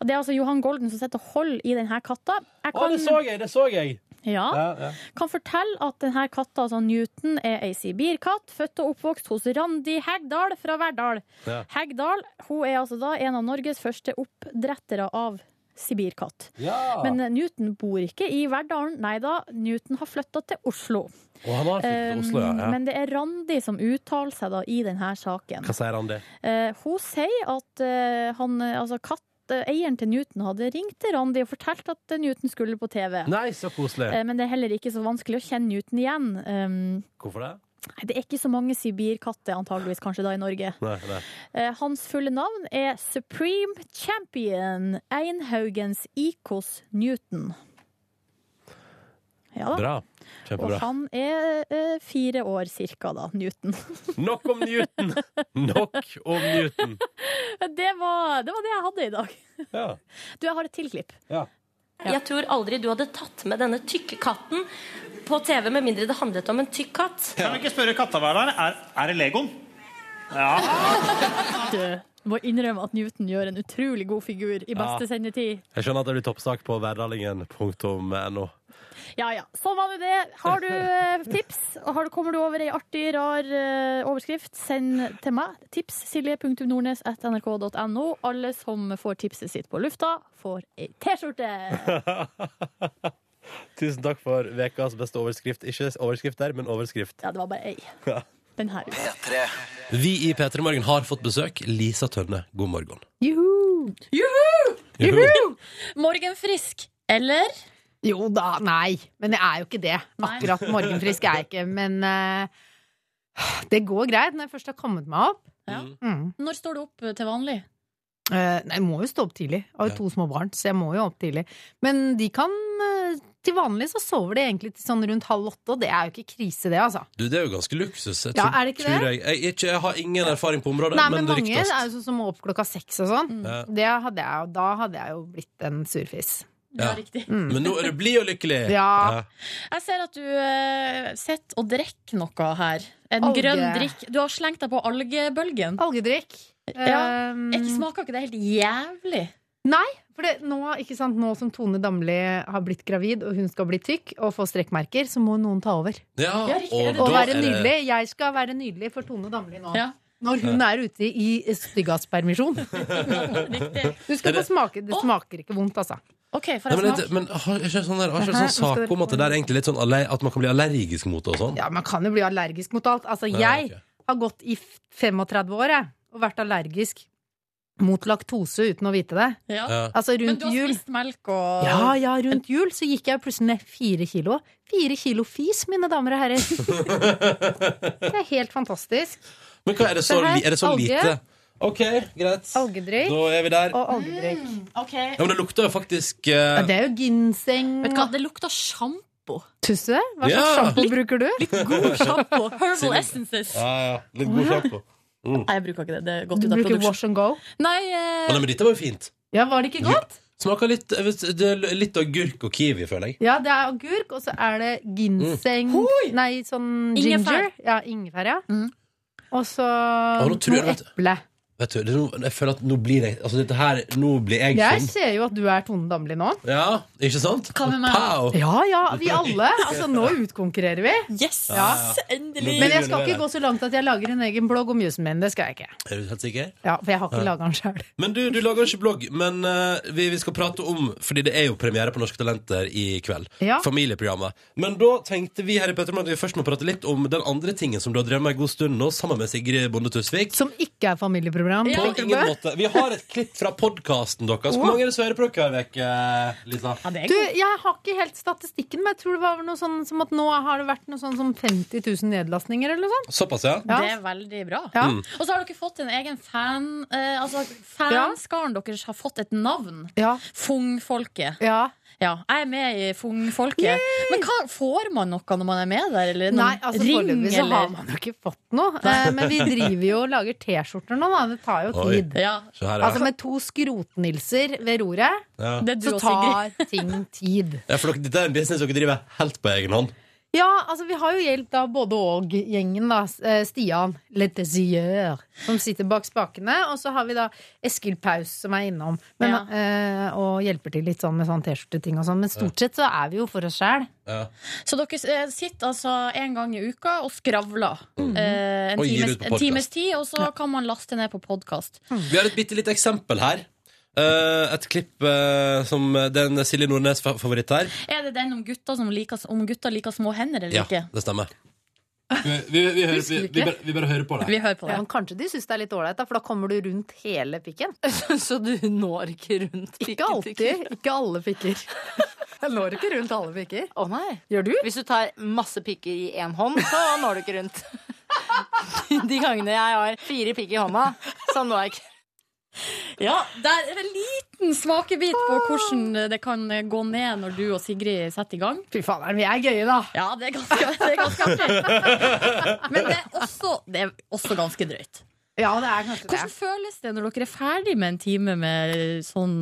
C: Det er altså Johan Golden som sitter og holder i denne katta. Jeg
B: Å, det så jeg! Det så jeg!
C: ja,
B: Ja, ja.
C: kan fortelle at denne katta, altså Newton, er ei sibirkatt, født og oppvokst hos Randi Hegdal fra Verdal.
B: Ja.
C: Hegdal hun er altså da en av Norges første oppdrettere av sibirkatt.
B: Ja.
C: Men eh, Newton bor ikke i Verdalen, nei da, Newton har flytta til Oslo.
B: Og han har flyttet til Oslo, ja.
C: Eh,
B: ja.
C: Men det er Randi som uttaler seg da i denne saken.
B: Hva sier han det?
C: Eh, hun sier at eh, han, eh, altså katt, eh, eieren til Newton hadde ringt til Randi og fortalt at eh, Newton skulle på TV.
B: Nei, så koselig.
C: Eh, Men det er heller ikke så vanskelig å kjenne Newton igjen. Um,
B: Hvorfor det?
C: nei, det er ikke så mange sibirkatter antageligvis kanskje da i Norge.
B: Nei, nei.
C: Eh, hans fulle navn er Supreme Champion Einhaugens Ikos Newton. Ja da.
B: Bra.
C: Og
B: Kjempebra.
C: han er eh, fire år cirka, da, Newton.
B: Nok om Newton! Nok om Newton.
C: Det var, det var det jeg hadde i dag.
B: Ja.
C: Du, jeg har et tilklipp.
K: Jeg tror aldri du hadde tatt med denne tykke katten på TV med mindre det handlet om en tykk katt.
I: Kan vi ikke spørre kattaverderen, er, er det Legoen? Ja.
C: Du må innrømme at Newton gjør en utrolig god figur i beste sendetid.
B: Jeg skjønner at det blir toppsak på verdalingen.no.
C: Ja, ja. Sånn var nå det. Har du eh, tips, og har du, kommer du over ei artig, rar eh, overskrift, send til meg. Tips silje.nordnes.nrk.no. Alle som får tipset sitt på lufta, får ei T-skjorte.
B: Tusen takk for ukas beste overskrift. Ikke overskrift der, men overskrift.
C: Ja, det var bare ei. Den her.
A: P3.
B: Vi i P3 Morgen har fått besøk. Lisa Tønne, god morgen.
C: Juhu!
B: Juhu!
C: Morgenfrisk. Eller?
L: Jo da, nei. Men jeg er jo ikke det.
C: Nei.
L: Akkurat morgenfrisk er jeg ikke. Men eh, det går greit når jeg først har kommet meg opp.
C: Ja.
L: Mm.
C: Når står du opp til vanlig?
L: Eh, nei, jeg må jo stå opp tidlig. Jeg har jo to små barn, så jeg må jo opp tidlig. Men de kan eh, Til vanlig så sover de egentlig til sånn rundt halv åtte, og det er jo ikke krise, det, altså.
B: Du, det er jo ganske luksus. Jeg
L: Ja,
B: tror-
L: er det ikke det?
B: tror Jeg, jeg, ikke, jeg har ingen erfaring på området,
L: Nei,
B: men,
L: men
B: det
L: mange
B: ryktes.
L: er jo sånn som må opp klokka seks og sånn.
B: Ja.
L: Det hadde jeg, jo- da hadde jeg jo blitt en surfis.
B: Ja.
C: Ja, riktig.
L: Mm.
B: Men nå er du blid og lykkelig.
L: Ja.
C: Jeg ser at du uh, sitter og drikker noe her. En
L: Alge.
C: grønn drikk. Du har slengt deg på algebølgen.
L: Algedrikk.
C: Ja.
L: Um,
C: Ikke smaker ikke det helt jævlig?
L: For det, nå, ikke sant, nå som Tone Damli har blitt gravid, og hun skal bli tykk og få strekkmerker, så må noen ta over.
B: Ja,
C: Ja, riktig,
B: og
C: det er det.
B: da
L: Og være
B: er det-
L: nydelig. Jeg skal være nydelig for Tone Damli nå.
C: Ja.
L: Når hun er ute i styggaspermisjon.
C: Riktig.
L: Du skal få smake Det smaker ikke vondt, altså.
C: OK, for
B: Nei,
C: jeg
B: men,
C: smaker.
B: det, men har ikke sånn der, har ikke sånn
L: Hæ?
B: sak om at det der er egentlig litt sånn alle- at man kan bli allergisk mot det og sånn?
L: Ja, man kan jo bli allergisk mot alt. Altså,
B: Ja,
L: jeg
B: ok.
L: har gått i 35 år jeg, og vært allergisk mot laktose uten å vite det.
C: Ja.
B: Ja.
L: Altså rundt
C: Men du har
L: jul.
C: spist melk og
L: Ja, ja, rundt jul så gikk jeg plutselig ned fire kilo. Fire kilo fis, mine damer og herrer. Det er helt fantastisk.
B: Men hva er det så,
L: Se her,
B: li- er det så
L: alge.
B: lite? OK, greit.
L: Algedrykk
B: Da er vi der.
L: og algedrykk.
B: Ja, men det lukter jo faktisk
L: Ja,
B: eh,
L: det er jo ginseng.
C: Vet du hva, det lukter sjampo.
L: Syns du det? Hva slags
B: Ja.
L: sånn sjampo bruker du?
C: God sjampo. Herbal
B: Silje.
C: essences.
B: Ja, ja. Litt god sjampo. Mm.
C: Nei, jeg bruker ikke det. Det er godt
L: Du
C: ut av
L: bruker
C: produksjon.
L: wash and go.
C: Nei,
B: Å, nei,
C: eh,
B: men dette var jo fint.
L: Ja, var det ikke godt?
B: Smaker litt, jeg vet, det er litt agurk og kiwi, føler jeg.
L: Ja, det er agurk, og så er det
B: Mm.
L: ginseng Nei, sånn ginger.
C: Ingefær.
L: Ja, ingefær, ja. Og så
B: Mm. nå tror jeg
L: noe
B: det, vet
L: eple.
B: Vet du, det, er noe- jeg føler at nå blir jeg Altså, dette her Nå blir jeg
L: Jeg
B: sånn.
L: ser jo at du er Tone Damli nå.
B: Ja, ikke sant?
C: Hva med meg?
B: Pow!
L: Ja, ja, vi alle. Altså, nå utkonkurrerer vi.
C: yes!
B: Ja, ja.
C: Endelig!
L: Men jeg skal ikke gå så langt at jeg lager en egen blogg om jusen min. Det skal jeg ikke.
B: Er du helt sikker?
L: Ja, For jeg har
B: Ja.
L: ikke laga den sjøl.
B: Men du, du lager ikke blogg, men eh, vi, vi skal prate om Fordi det er jo premiere på Norske Talenter i kveld.
L: Ja.
B: Familieprogrammet. Men da tenkte vi her i Petter at vi først må prate litt om den andre tingen som du har drevet med en god stund nå, sammen med Sigrid Bonde Tusvik.
L: Som ikke er familieprogram.
B: På
L: tenker du
B: ingen
L: på?
B: måte. Vi har et klipp fra podkasten deres. Hvor
L: Åh.
B: mange er det som hører på dere hver uke, Lisa?
L: Du, jeg har ikke helt statistikken, men jeg tror det var noe sånn som at nå har det vært noe sånn som 50 000 nedlastninger eller noe sånt.
B: Såpass, ja?
L: Ja.
C: Det er veldig bra.
L: Ja.
B: Mm.
C: Og så har dere fått en egen fan... Eh, altså,
L: Ja.
C: fanskaren deres har fått et navn.
L: Ja.
C: Fung-folket.
L: ja.
C: Ja, jeg er med i Fung-folket. Men hva, får man noe når man er med der? Eller noen
L: Nei, altså
C: ring,
L: foreløpig så har
C: eller?
L: man jo ikke fått noe. Eh, Men vi driver jo og lager T-skjorter nå, da. Det tar jo
B: Oi.
L: tid.
C: Ja,
B: Så her,
L: Altså
B: ja.
L: med to skrotnilser ved roret,
B: ja.
C: det er du
L: så
C: og Sigrid.
L: tar ting tid.
B: ja for dere, dette er en business dere driver helt på egen hånd.
L: Ja, altså vi har jo hjelp av både og-gjengen, da. Eh, Stian Letesier, som sitter bak spakene. Og så har vi da Eskil Paus, som er innom men,
C: Ja.
L: eh, og hjelper til litt sånn med sånn T-skjorteting og sånn. Men stort sett så er vi jo for oss sjæl.
B: Ja.
C: Så dere eh, sitter altså en gang i uka og skravler eh, en,
B: Mhm. Og gir
C: times,
B: ut på
C: en
B: podcast.
C: times tid, og så kan man laste ned på podkast.
L: Hmm.
B: Vi har et bitte lite eksempel her. Eh, et klipp eh, som Det er en Silje Nordnes-favoritt her.
C: Er det den om gutta som liker, om gutta liker små hender eller
B: Ja,
C: ikke?
B: det stemmer. Vi, vi, vi, hører, vi, vi, bare, vi bare hører på det.
C: Vi hører på det.
L: men kanskje de syns det er litt ålreit, da, for da kommer du rundt hele pikken.
M: Så du når ikke rundt
L: Ikke alltid. Ikke alle pikker. Jeg når ikke rundt alle pikker.
M: Å nei.
L: Gjør du?
M: Hvis du tar masse pikker i én hånd, så når du ikke rundt. De gangene jeg har fire pikker i hånda, så når jeg ikke.
C: Ja, Der er en liten smakebit på hvordan det kan gå ned når du og Sigrid setter i gang.
L: Fy fader, vi er gøye, da!
C: Ja, det er ganske, det er ganske artig. Men det er, også, det er også ganske drøyt.
L: Ja, det er kanskje det.
C: Hvordan føles det når dere er ferdig med en time med sånn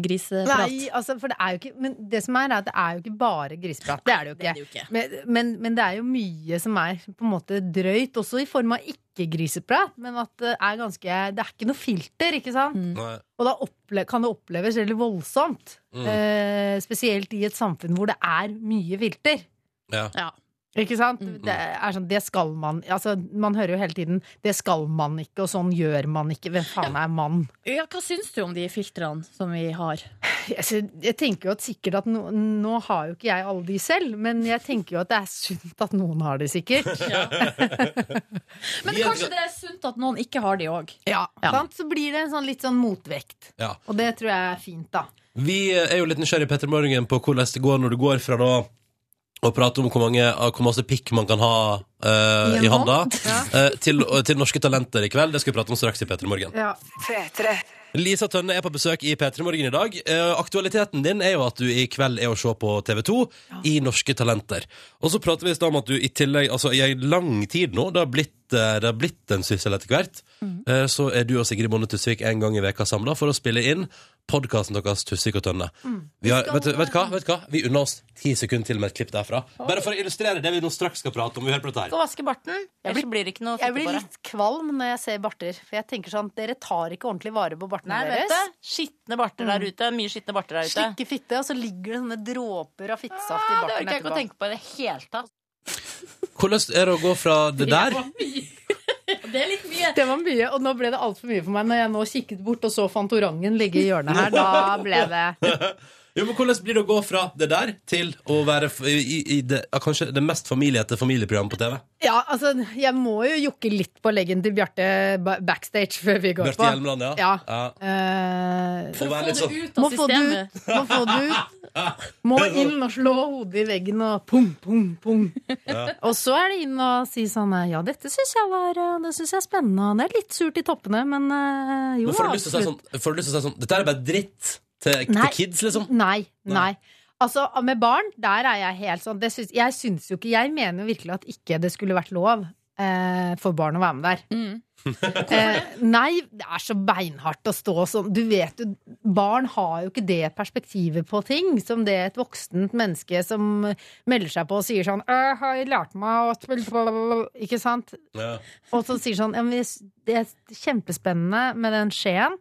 C: griseprat?
L: Nei, altså, for det er jo ikke Men det som er, er at det er jo ikke bare griseprat. Det er det jo
C: Det
L: ikke.
C: er det jo ikke.
L: Men, men, men det er jo mye som er på en måte drøyt, også i form av ikke-griseprat, men at det er ganske Det er ikke noe filter, ikke sant?
B: Nei.
L: Og da opple kan det oppleves veldig voldsomt.
B: Mm.
L: Eh, spesielt i et samfunn hvor det er mye filter.
B: Ja.
C: Ja. Mm.
L: Ikke sant? Det er sånn, det skal man Altså, man hører jo hele tiden 'det skal man ikke', og 'sånn gjør man ikke'. Hvem faen er mann?
C: Ja, hva syns du om de filtrene som vi har?
L: Altså, jeg tenker jo at sikkert at no, Nå har jo ikke jeg alle de selv, men jeg tenker jo at det er sunt at noen har de sikkert.
C: Men kanskje det er sunt at noen ikke har de òg.
L: Ja,
C: Ja.
L: Sant? Så blir det en sånn litt sånn motvekt.
B: Ja.
L: Og det tror jeg er fint, da.
B: Vi eh, er jo litt nysgjerrige Petter Morgen, på hvordan det går når du går fra da å prate om hvor, mange, eh, hvor masse pikk man kan ha eh,
L: I en
B: i handa,
L: hånd, ja.
B: eh, til, til Norske Talenter i kveld. Det skal vi prate om straks i Petter Morgen.
L: Ja.
B: Lisa Tønne er på besøk i P3 Morgen i dag. Eh, aktualiteten din er jo at du i kveld er å se på TV 2 i Norske Talenter. Og så prater vi i stad om at du i tillegg, altså i en lang tid nå, det har blitt, eh, det har blitt en syssel etter hvert, eh, så er du og Sigrid Bonde Tusvik en gang i veka samla for å spille inn podkasten deres Tusvik og Tønne. Vi har, vet, du- vet, du hva, vet du hva? Vi unner oss ti sekunder til med et klipp derfra. Bare for å illustrere det vi nå straks skal prate om. Vi hører på dette her.
M: Skal vaske barten, ellers blir det ikke noe
L: Jeg
M: fitte
L: blir
M: på det.
L: litt kvalm når jeg ser barter, for jeg tenker sånn dere tar ikke ordentlig vare på bartene
M: Nei, vet
L: deres.
M: du. Skitne barter der ute. Mye skitne barter der ute.
L: Slikke fitte, og så ligger det sånne dråper av
M: Ah,
L: fittesaft i
M: det orker
L: barten
M: jeg ikke å
L: etterpå.
M: tenke på i det hele tatt.
B: Hvordan er det å gå fra det der
C: Det er litt mye.
L: Det var mye, og nå ble det altfor mye for meg når jeg nå kikket bort og så Fantorangen ligge i hjørnet her. Da ble det
B: Jo, men Hvordan blir det å gå fra det der til å være f- i, i det, ja, kanskje det mest familieete familieprogrammet på TV?
L: Ja, altså, jeg må jo jokke litt på leggen til Bjarte ba- backstage før vi går
B: Bjarte
L: på.
B: Hjelmeland, ja.
L: ja.
B: Ja.
L: Eh,
B: For å være litt sånn-
L: Må få det ut. Må få det ut. Må inn og slå hodet i veggen og pung, pung, pung.
B: Ja.
L: Og så er det inn og si sånn eh, Ja, dette syns jeg var eh, Det synes jeg er spennende, og det er litt surt i toppene, men eh, jo,
B: Men får du lyst til å si
L: absolutt.
B: sånn, får du lyst til å si sånn Dette er bare dritt til, til
L: Nei.
B: kids, liksom?
L: Nei, nei. Altså, med barn, der er jeg helt sånn det syns, Jeg syns jo ikke Jeg mener jo virkelig at ikke det skulle vært lov eh, for barn å være med der. Eh, nei, det er så beinhardt å stå sånn. Du vet jo, barn har jo ikke det perspektivet på ting som det et voksent menneske som melder seg på og sier sånn «Jeg har lært meg å spille blablabla», Ikke sant?
B: Ja.
L: Og som sier sånn ja, men jeg- Det er kjempespennende med den skjeen.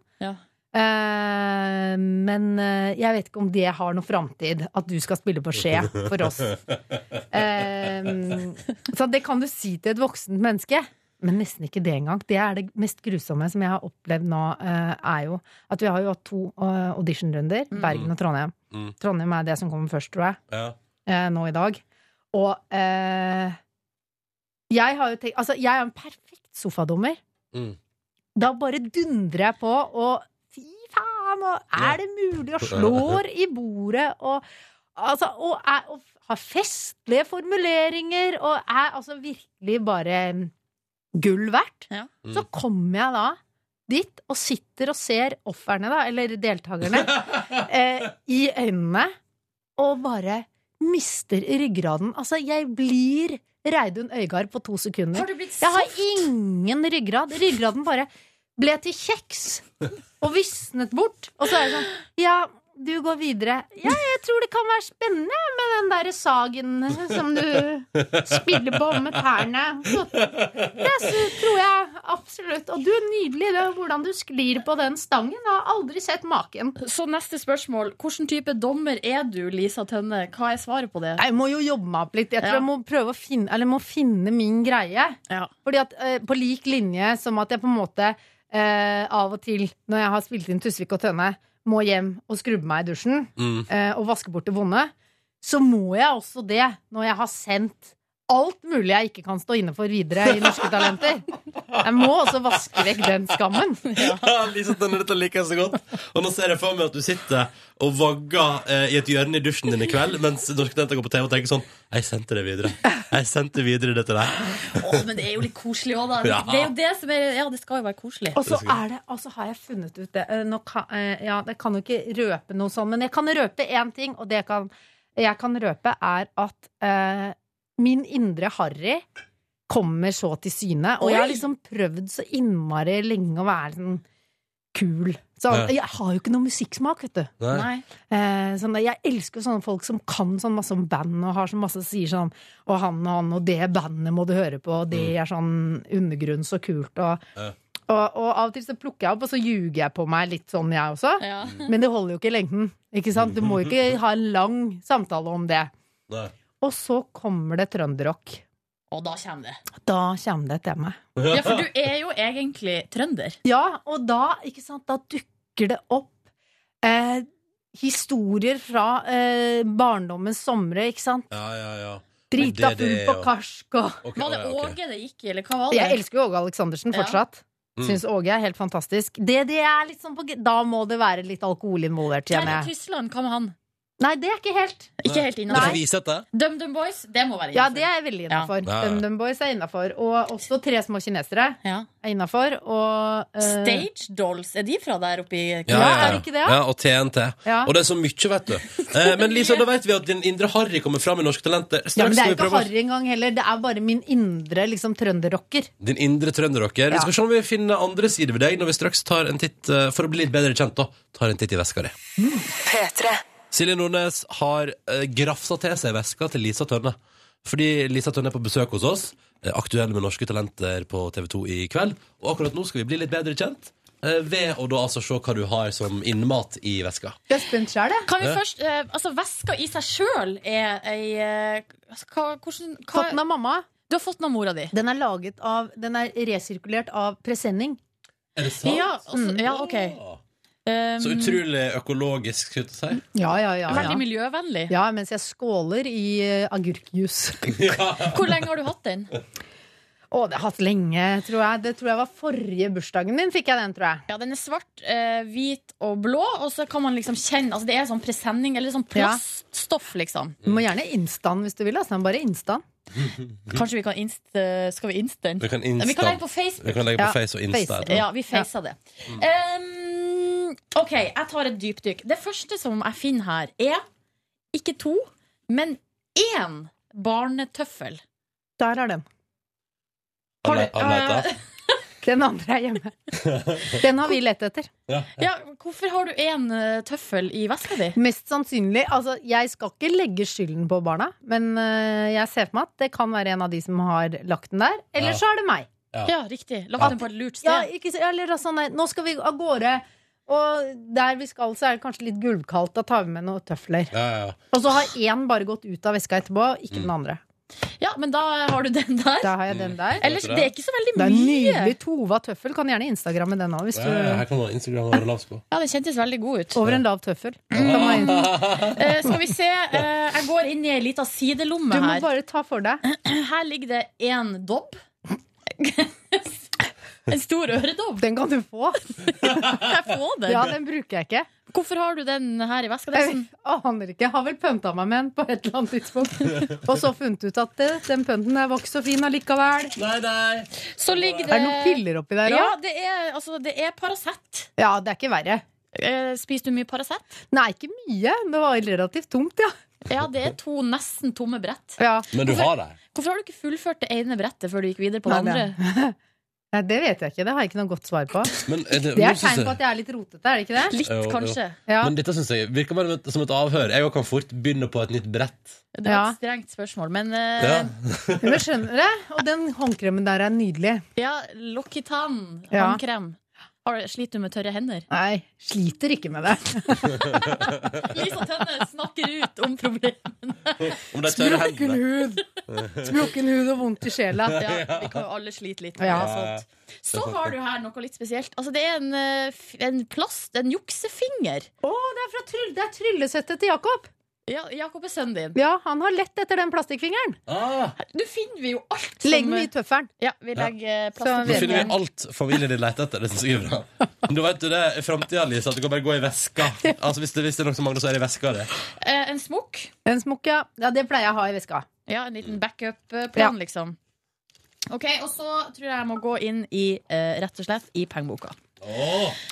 L: Eh, men eh, jeg vet ikke om det har noe framtid, at du skal spille på skje for oss. Eh, så det kan du si til et voksent menneske, men nesten ikke det engang. Det er det mest grusomme som jeg har opplevd nå, eh, er jo at vi har jo hatt to eh, auditionrunder, Bergen og Trondheim.
B: Mm.
L: Trondheim er det som kommer først, tror jeg,
B: Ja.
L: eh, nå i dag. Og eh, jeg har jo tenkt Altså, jeg er en perfekt sofadommer.
B: Mm.
L: Da bare dundrer jeg på og fy faen, og er det mulig? Og slår i bordet og Altså, og, er, og har festlige formuleringer og er altså virkelig bare mm, gull verdt. Så kommer jeg da dit og sitter og ser ofrene, da, eller deltakerne, eh, i øynene og bare mister ryggraden. Altså, jeg blir Reidun Øygard på to sekunder.
N: Har du blitt
L: jeg har
N: soft?
L: ingen ryggrad. Ryggraden bare ble til kjeks og visnet bort. Og så er det sånn Ja, du går videre. Ja, jeg tror det kan være spennende med den derre sagen som du spiller på med tærne. Så Det s- tror jeg absolutt. Og du er nydelig. Det, er hvordan du sklir på den stangen. Jeg har aldri sett maken.
N: Så neste spørsmål. Hvilken type dommer er du, Lisa Tønne? Hva er svaret
C: eh,
N: på det?
L: Jeg må jo jobbe meg opp litt. Jeg
N: Ja.
L: tror jeg må prøve å finne, eller må finne min greie. Fordi at eh, På lik linje som at jeg på en måte eh, av og til, når jeg har spilt inn Tusvik og Tønne, må hjem og skrubbe meg i dusjen
B: Mm.
L: eh, og vaske bort det vonde, så må jeg også det når jeg har sendt alt mulig jeg ikke kan stå inne for videre i Norske Talenter. Jeg må også vaske vekk den skammen.
B: Lisa Tønne, dette liker jeg så godt. Og nå ser jeg for meg at du sitter og vagger eh, i et hjørne i dusjen din i kveld mens Norske Tenter går på TV og tenker sånn Jeg sendte det videre. Jeg sendte videre dette der.
N: Men det er jo litt koselig òg, da.
B: Ja.
N: Det er jo det som er Ja, det skal jo være koselig.
L: Og så er det, og så har jeg funnet ut det Eh, Nå kan, eh, ja, Jeg kan jo ikke røpe noe sånt, men jeg kan røpe én ting, og det kan, jeg kan røpe, er at eh, min indre harry kommer så til syne. Og jeg har
N: Oi!
L: liksom prøvd så innmari lenge å være sånn kul. Sånn,
N: Ja.
L: jeg har jo ikke noe musikksmak, vet du.
N: Nei. Nei.
L: Eh, sånn, jeg elsker jo sånne folk som kan sånn masse om band, og har så masse sier sånn Og han og han, og det bandet må du høre på, og det
N: Mm.
L: er sånn undergrunns og kult, og og, og av og til så plukker jeg opp, og så ljuger jeg på meg litt sånn, jeg også. Men det holder jo ikke i lengden. Ikke sant? Du må jo ikke ha en lang samtale om det.
B: Nei.
L: Og så kommer det trønderrock.
N: Og da kommer det.
L: Da kommer det til meg.
N: Ja, for du er jo egentlig trønder.
L: Ja, og da, ikke sant, da dukker det opp eh, historier fra eh, barndommens somre, ikke sant?
B: Ja, ja, ja.
L: Drita
B: Og det-
L: full
B: det er
L: på
B: jo-
L: karsk og
B: Ok,
N: Var det
B: ja, ja, ok.
N: Åge det gikk i, eller hva var det?
L: Jeg elsker jo Åge Aleksandersen
N: Ja.
L: fortsatt.
B: Mm.
L: Syns Åge er helt fantastisk. Det, det er litt sånn på, g- da må det være litt alkohol involvert,
N: Terje
L: kjenner jeg.
N: Tysland, hva med han?
L: Nei, det er ikke helt.
N: Ikke helt
B: Du får
N: innafor.
B: vise dette.
N: DumDum Boys, det må være
L: Ja,
N: innenfor.
L: det er veldig innafor.
B: Ja, ja, ja.
L: DumDum Boys er innafor. Og også Tre små kinesere er innafor. Og eh,
N: Stage Dolls, er de fra der oppe i
B: Ja, ja, ja.
L: er det ikke det?
B: Ja, og TNT.
L: Ja.
B: Og det er så mye, vet du. Eh, men Lisa, da vet vi at din indre harry kommer fram i Norske Talenter.
L: Ja, men
B: Straks
L: det
B: skal
L: er jo
B: vi
L: ikke
B: prøve
L: harry engang heller. Det er bare min indre liksom, trønderrocker.
B: Din indre trønderrocker. Vi
L: Ja.
B: skal se om vi finner andre sider ved deg når vi straks tar en titt, eh, for å bli litt bedre kjent, da. Tar en titt i veska di. Silje Nordnes har eh, grafsa til seg veska til Lisa Tønne. Fordi Lisa Tønne er på besøk hos oss, eh, aktuell med Norske Talenter på TV2 i kveld. Og akkurat nå skal vi bli litt bedre kjent eh, ved å da altså se hva du har som innmat i veska.
L: Jeg er spent sjøl, jeg.
N: Kan vi
B: Ja.
N: først, eh, altså Veska i seg sjøl er ei eh, altså, hva, hvordan, hva,
L: Fått den av mamma.
N: Du har fått den av mora di.
L: Den er laget av Den er resirkulert av presenning.
B: Er det Ah.
L: sant?
N: Ja, altså,
L: Mm.
N: ja ok.
C: Um,
B: Så utrolig økologisk, skulle jeg til å si.
L: Ja, ja, ja, ja.
C: Veldig miljøvennlig.
L: Ja, mens jeg skåler i eh, agurkjuice.
C: Hvor lenge har du hatt den?
L: Å, det har jeg hatt lenge, tror jeg. Det tror jeg var forrige bursdagen min fikk jeg den, tror jeg.
C: Ja, den er svart, eh, hvit og blå, og så kan man liksom kjenne altså Det er sånn presenning, eller sånn
L: Ja.
C: plaststoff, liksom.
L: Du må gjerne instan hvis du vil. Altså. Bare instan.
C: Kanskje vi kan inst... eh, Skal vi inst den?
B: Mhm. Vi kan
C: Nei,
B: insta.
C: vi kan legge på Facebook.
B: Vi kan legge på Face og Insta.
C: Face.
B: etterpå.
C: Ja, Mm. vi facer det. Um, OK, jeg tar et dypdykk. Det første som jeg finner her, er ikke to, men én barnetøffel.
L: Der er den.
B: Han le- han leter.
L: Den andre er hjemme. Den har vi lett etter.
C: Ja, hvorfor har du én eh, tøffel i veska di?
L: Mest sannsynlig. Altså, jeg skal ikke legge skylden på barna, men øh, jeg ser for meg at det kan være en av de som har lagt den der. Eller
C: Ja.
L: så er det meg.
C: Ja, riktig. Lagt den på et lurt sted.
L: Ja, ikke, så- eller sånn der, nå skal vi av gårde, og der vi skal, så er det kanskje litt gulvkaldt. Da tar vi med noen tøfler.
B: Ja, ja, ja.
L: Og så har én bare gått ut av veska etterpå, ikke den andre.
C: Ja, men da har du den der.
L: Da har jeg den der.
C: Ellers, det er ikke så veldig
L: Det er
C: mye.
L: nydelig. Tova Tøffel kan gjerne Instagramme den òg, hvis
B: Ja, ja, Her
L: du
B: kan man Instagram over lavsko.
C: Ja, den kjentes veldig god ut.
L: Over en lav tøffel.
C: Eh, skal vi se. eh, jeg går inn i ei lita sidelomme
L: Du må
C: her.
L: bare ta for deg.
C: Her ligger det en dobb. en stor øredobb.
L: Den kan du få.
C: jeg får den.
L: Ja, den bruker jeg ikke.
C: Hvorfor har du den her i veska? Det er
L: Jeg
C: sånn-
L: aner ikke. Jeg har vel pønta meg med den på et eller annet tidspunkt. Og så funnet ut at eh, den pønten der var ikke så fin allikevel.
C: Så ligger det
L: Er det noen piller oppi der
C: Ja,
L: òg?
C: det er, altså, det er Paracet. Eh,
L: Ja, det er ikke verre.
C: Spiser du mye Paracet?
L: Nei, ikke mye. Det var relativt tomt, ja.
C: Ja, det er to nesten tomme brett.
B: Men du har det.
C: Hvorfor har du ikke fullført det ene brettet før du gikk videre på det
L: Nei, det-
C: andre?
L: Nei, det vet jeg ikke. Det har jeg ikke noe godt svar på.
B: Men er det,
L: Det er
B: nå synes
L: tegn på at jeg er litt rotete, er det ikke det?
B: Jo, jo.
L: Ja.
B: Men dette synes jeg virker bare som et avhør. Jeg også kan fort begynne på et nytt brett.
C: Det var et strengt spørsmål, men eh,
B: Ja.
L: Men jeg skjønner det. Og den håndkremen der er nydelig.
C: ja, Lokitan,
L: Ja.
C: håndkrem. Har- Sliter du med tørre hender?
L: Nei, sliter ikke med det.
C: Lisa Tønne snakker ut om problemene.
B: Om det er tørre
L: Sprukken hud. Sprukken hud og vondt i sjela.
C: Ja, vi kan jo alle slite litt med
L: Ja.
C: det, sant? Så har du her noe litt spesielt. Altså, det er en, eh, f- en plast, en juksefinger.
L: Å, det er fra tryll, det er tryllesettet til Jakob.
C: Ja, Jakob er sønnen din.
L: Ja, han har lett etter den plastikkfingeren.
B: Ah,
C: Du finner vi jo alt som
L: Legg den i tøffelen.
C: Ja, vi legger eh,
B: Nå
L: Så
C: plastikk
B: finner vi alt familien din leter etter. Det synes jeg er bra. Men da vet du det i framtida, Lise, at du kan bare gå i veska. Altså Hvis det, hvis det er noe som mangler, så er det i veska di.
C: Eh, En smokk.
L: En smokk, ja. ja. Det pleier jeg å ha i veska.
C: Ja, en liten backup-plan,
L: Ja.
C: liksom. Ok, Og så tror jeg jeg må gå inn i eh, rett og slett i pengeboka.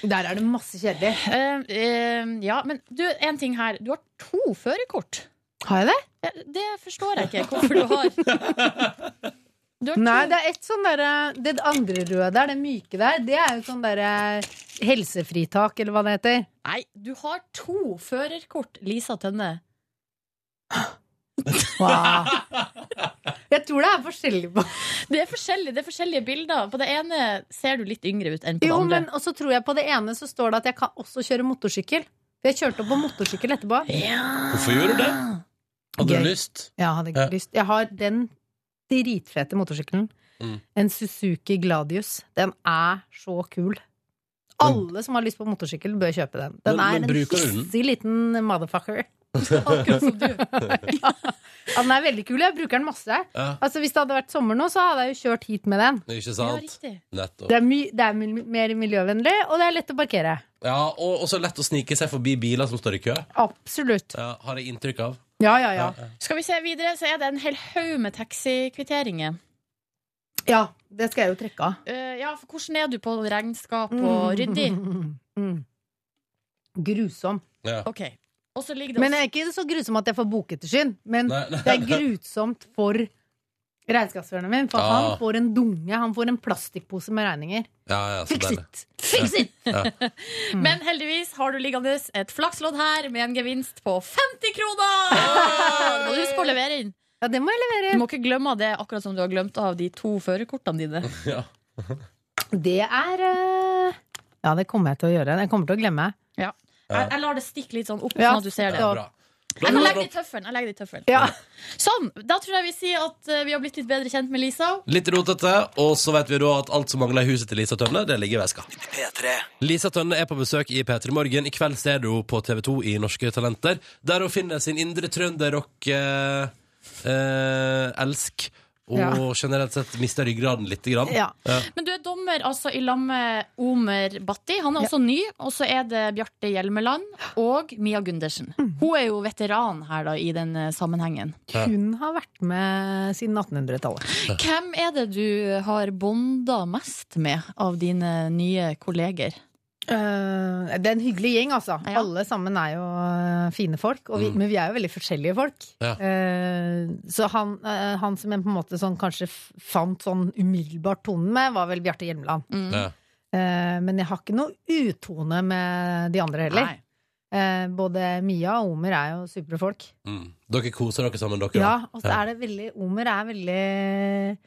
L: Der er det masse kjedelig.
C: Eh, eh, ja, men du, en ting her. Du har to førerkort.
L: Har jeg det?
C: Ja, det forstår jeg ikke hvorfor du har. Du har to-
L: Nei, det er et sånn derre Det andre røde der, det myke der, det er jo sånn derre helsefritak, eller hva det heter.
C: Nei, du har to førerkort, Lisa Tønne.
L: Wow. Jeg tror det er forskjellig på
C: Det er forskjellige, det er forskjellige bilder. På det ene ser du litt yngre ut enn på det
L: Jo,
C: andre.
L: men også tror jeg på det ene så står det at jeg kan også kjøre motorsykkel. For Jeg kjørte opp på motorsykkel etterpå.
B: Hvorfor gjorde du det? Hadde
L: Gøy.
B: du lyst?
L: Jeg hadde ikke
B: Ja.
L: lyst. Jeg har den dritfete motorsykkelen.
B: Mm.
L: En Suzuki Gladius. Den er så kul. Alle som har lyst på motorsykkel, bør kjøpe den.
B: Men-
L: Den
B: men
L: er en
B: bruker du den?
L: hissig liten motherfucker. Akkurat som du. ja. Ja, Den er veldig kul. Jeg bruker den masse.
B: Ja.
L: Altså, hvis det hadde vært sommer nå, så hadde jeg jo kjørt hit med den.
B: Ikke sant?
L: riktig.
B: Nettopp.
L: Det er, my det er mil- mer miljøvennlig, og det er lett å parkere.
B: Ja, og, og så lett å snike seg forbi biler som står i kø.
L: Absolutt.
B: Ja, har jeg inntrykk av.
L: Ja, ja, ja.
C: Skal vi se videre, så er det en hel haug med taxikvitteringer.
L: Ja, det skal jeg jo trekke av.
C: Eh, ja, for hvordan er du på regnskap og ryddig?
L: Mm. Grusom.
C: Ok. Og så ligger det
L: Men det er ikke så grusom at jeg får bokettersyn, men
B: Nei, nei.
L: det er grusomt for regnskapsføreren min, for
B: Ja.
L: han får en dunge, han får en plastikkpose med regninger.
B: Ja, ja, så
L: Fix
B: deilig.
L: it! Fix it!
B: Ja.
C: Men heldigvis har du liggende et flakslodd her med en gevinst på 50 kroner! Og husk på å levere inn.
L: Ja, det må jeg levere
C: Du må ikke glemme av det, akkurat som du har glemt av de to førerkortene dine.
B: Ja.
L: Det er eh, Ja, det kommer jeg til å gjøre. Jeg kommer til å glemme.
C: Ja. Jeg, jeg lar det stikke litt sånn opp,
L: Ja,
C: sånn at du ser det.
L: ja, bra.
N: Jeg kan legge det i tøffelen. Jeg legger det i tøffelen. Sånn. Da tror jeg vi sier at eh, vi har blitt litt bedre kjent med Lisa.
B: Litt rotete, og så vet vi da at alt som mangler i huset til Lisa Tønne, det ligger i veska.
A: P3.
B: Lisa Tønne er på besøk i P3 Morgen. I kveld ser du henne på TV2 i Norske Talenter, der hun finner sin indre trønderrock eh, eh, elsk, og
N: Ja.
B: generelt sett mister ryggraden lite grann.
N: Ja.
B: Ja.
N: Men du er dommer altså, i lag med Omer Batti. Han er også ny. Og så er det Bjarte Hjelmeland og Mia Gundersen.
L: Mm.
N: Hun er jo veteran her da, i den eh, sammenhengen.
L: Hun har vært med siden 1800-tallet.
N: Hvem er det du har bonda mest med av dine nye kolleger?
L: Eh, det er en hyggelig gjeng, altså. Alle sammen er jo eh, fine folk, og vi,
N: Mm.
L: men vi er jo veldig forskjellige folk.
N: Ja.
L: Eh, så han, eh, han som jeg på en måte sånn kanskje f- fant sånn umiddelbart tonen med, var vel Bjarte Hjelmeland.
B: Ja.
L: Eh, men jeg har ikke noe utone med de andre heller.
N: Nei.
L: Eh, både Mia og Omer er jo supre folk.
B: Mm. Dere koser dere sammen, dere.
L: Ja,
B: da.
L: og så er det veldig Omer er veldig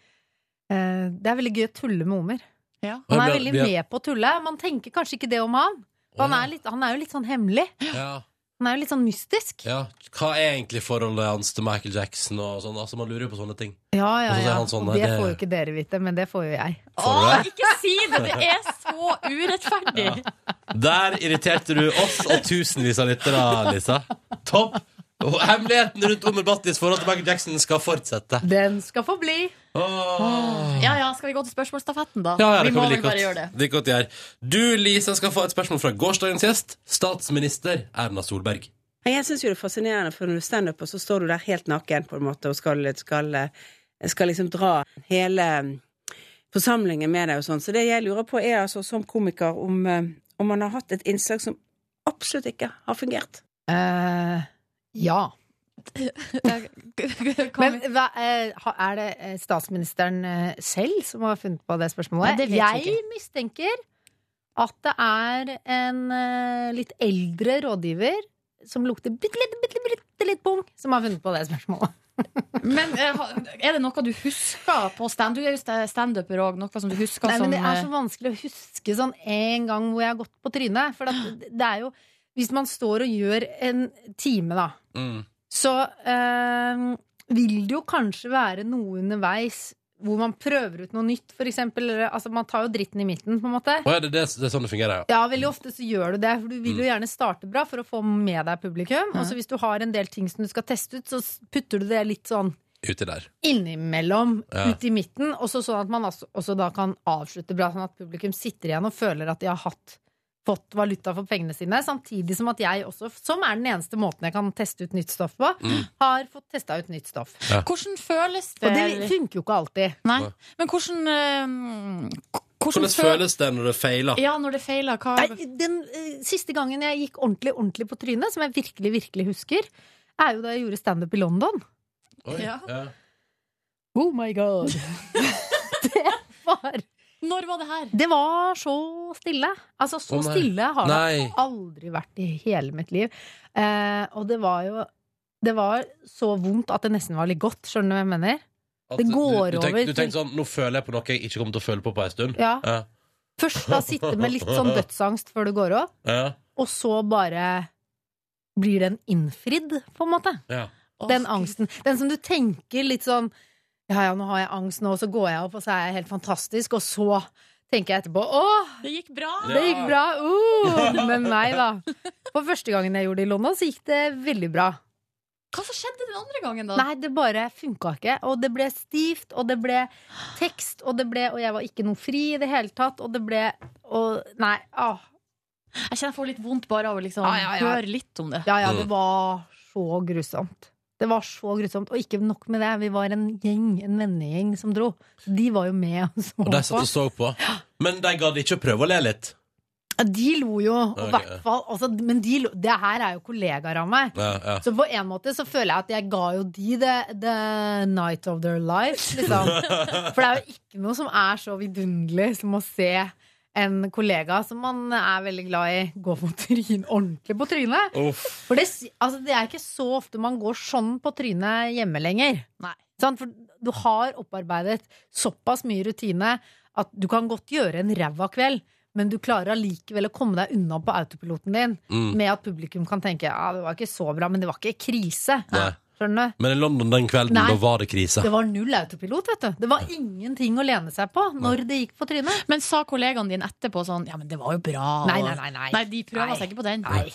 L: eh, Det er veldig gøy å tulle med Omer. Han er
B: Jeg ble-
L: veldig
B: ble-
L: med på å tulle. Man tenker kanskje ikke det om han. For han, er litt, han er jo litt sånn hemmelig.
B: Ja.
L: Han er jo litt sånn mystisk.
B: Ja. Hva er egentlig forholdet hans til Michael Jackson og sånn? Altså, man lurer jo på sånne ting.
L: Ja, ja,
B: Og så sier
L: ja.
B: han sånn,
L: Og
B: nei,
L: det
B: det-
L: får jo ikke dere vite, men det får jo jeg.
B: Får du det?
N: Ikke si det! Det er så urettferdig!
B: Der irriterte du oss og tusenvis av lyttere, Lisa. Topp! Og hemmeligheten rundt Omer Battis forhold til Michael Jackson skal fortsette.
L: Den skal få bli.
N: Ja ja, skal vi gå til spørsmålsstafetten, da?
B: Ja, ja, det
N: vi
B: kan
N: må vel
B: vi like
N: bare gjøre det.
B: godt, like godt gjøre. Du, Lisa, skal få et spørsmål fra gårsdagens gjest, statsminister Erna Solberg.
O: Men Jeg syns jo det er fascinerende, for når du standup, og så står du der helt naken, på en måte, og skal, skal, skal liksom dra hele mm, forsamlingen med deg og sånn. Så det jeg lurer på, er altså som komiker om, eh, om man har hatt et innslag som absolutt ikke har fungert.
L: Eh, ja. Men hva, eh, ha- er det eh, statsministeren eh, selv som har funnet på det spørsmålet?
N: Nei, det vet
L: jeg
N: vi
L: mistenker at det er en eh, litt eldre rådgiver som lukter bitte litt, bitte, bitte litt pung, som har funnet på det spørsmålet.
N: Men eh, ha- er det noe du husker på stand? Du er jo sta- standuper òg. Noe som du husker
L: Nei,
N: som
L: men det er
N: eh,
L: så vanskelig å huske sånn en gang hvor jeg har gått på trynet. For at det er jo Hvis man står og gjør en time, da, så eh, vil det jo kanskje være noe underveis hvor man prøver ut noe nytt, for eksempel. Eller, altså, man tar jo dritten i midten, på en måte.
B: Å ja, det, det, det er sånn det fungerer, ja.
L: Ja, veldig ofte så gjør du det, for du vil jo gjerne starte bra for å få med deg publikum. Og så hvis du har en del ting som du skal teste ut, så putter du det litt sånn
B: Uti der.
L: innimellom,
B: Ja.
L: ut i midten, og så sånn at man også, også da kan avslutte bra, sånn at publikum sitter igjen og føler at de har hatt, fått valuta for pengene sine, samtidig som at jeg også, som er den eneste måten jeg kan teste ut nytt stoff på,
N: Mm.
L: har fått testa ut nytt stoff.
N: Ja. Hvordan føles det?
L: Og det funker jo ikke alltid.
N: Nei. Men hvordan eh,
B: Hvordan
N: føl-
B: føles det når det feiler?
N: Ja, når det feiler, hva
L: Nei, den eh, siste gangen jeg gikk ordentlig, ordentlig på trynet, som jeg virkelig, virkelig husker, er jo da jeg gjorde standup i London.
B: Oi,
L: Ja.
B: ja.
L: Oh my god!
N: Når var det her?
L: Det var så stille. Altså, så
N: Å, nei.
L: stille har det
N: Nei.
L: aldri vært i hele mitt liv. Eh, og det var jo Det var så vondt at det nesten var litt godt. Skjønner du hva jeg mener?
B: At
L: det
B: du-
L: går
B: du, tenk,
L: over.
B: Du tenker sånn, nå føler jeg på noe jeg ikke kommer til å føle på på en stund.
L: Ja.
B: Ja.
L: Først da sitte med litt sånn dødsangst før du går opp,
B: Ja.
L: og så bare blir den innfridd, på en måte.
B: Ja.
L: Den angsten. Den som du tenker litt sånn Ja, ja, nå har jeg angst nå, så går jeg opp, og så er jeg helt fantastisk, og så tenker jeg etterpå Åh,
N: Det gikk bra!
L: det gikk bra! Uh, men nei da. For første gangen jeg gjorde det i London, så gikk det veldig bra.
N: Hva som skjedde den andre gangen, da?
L: Nei, det bare funka ikke. Og det ble stivt, og det ble tekst, og det ble Og jeg var ikke noe fri i det hele tatt, og det ble Og nei, ah. åh.
N: Jeg kjenner jeg får litt vondt bare av å liksom
L: Ja, ja, ja.
N: høre litt om det.
L: Ja,
B: Mm.
L: ja, det var så grusomt. Det var så grusomt. Og ikke nok med det, vi var en gjeng, en vennegjeng, som dro. De var jo med og så
B: Og de satt og så på. Men de gadd ikke å prøve å le litt.
L: Ja, de lo jo, og
B: Ok.
L: hvert fall. Altså, men de lo, det her er jo kollegaer av meg.
B: Ja, ja.
L: Så på en måte så føler jeg at jeg ga jo de the, the night of their lives, liksom. For det er jo ikke noe som er så vidunderlig som å se en kollega som man er veldig glad i, gå på tryn, ordentlig på trynet.
B: Uff.
L: For det, s- altså, det er ikke så ofte man går sånn på trynet hjemme lenger. Sant? For du har opparbeidet såpass mye rutine at du kan godt gjøre en ræva kveld, men du klarer allikevel å komme deg unna på autopiloten din
B: Mm.
L: med at publikum kan tenke ja, det var ikke så bra, men det var ikke krise.
B: Nei.
L: Skjønner du?
B: Men i London den kvelden,
L: Nei.
B: da var det krise.
L: Det var null autopilot, vet du. Det var ingenting å lene seg på når det gikk på trynet.
N: Men sa kollegaen din etterpå sånn Ja, men det var jo bra.
L: Nei, nei, nei, nei.
N: Nei, de prøver seg ikke på den. Nei.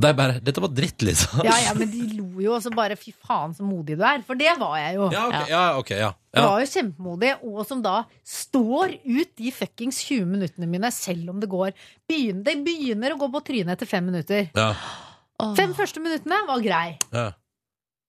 B: De bare 'Dette var dritt', liksom.
L: Ja, ja, men de lo jo også bare 'fy faen, så modig du er', for det var jeg jo.
B: Ja, ok, ja, ok, ja.
L: Det
B: ja.
L: var jo kjempemodig, og som da står ut de fuckings 20 minuttene mine, selv om det går begyn- Det begynner å gå på trynet etter fem minutter.
B: ja.
L: Fem første minuttene var grei.
B: ja.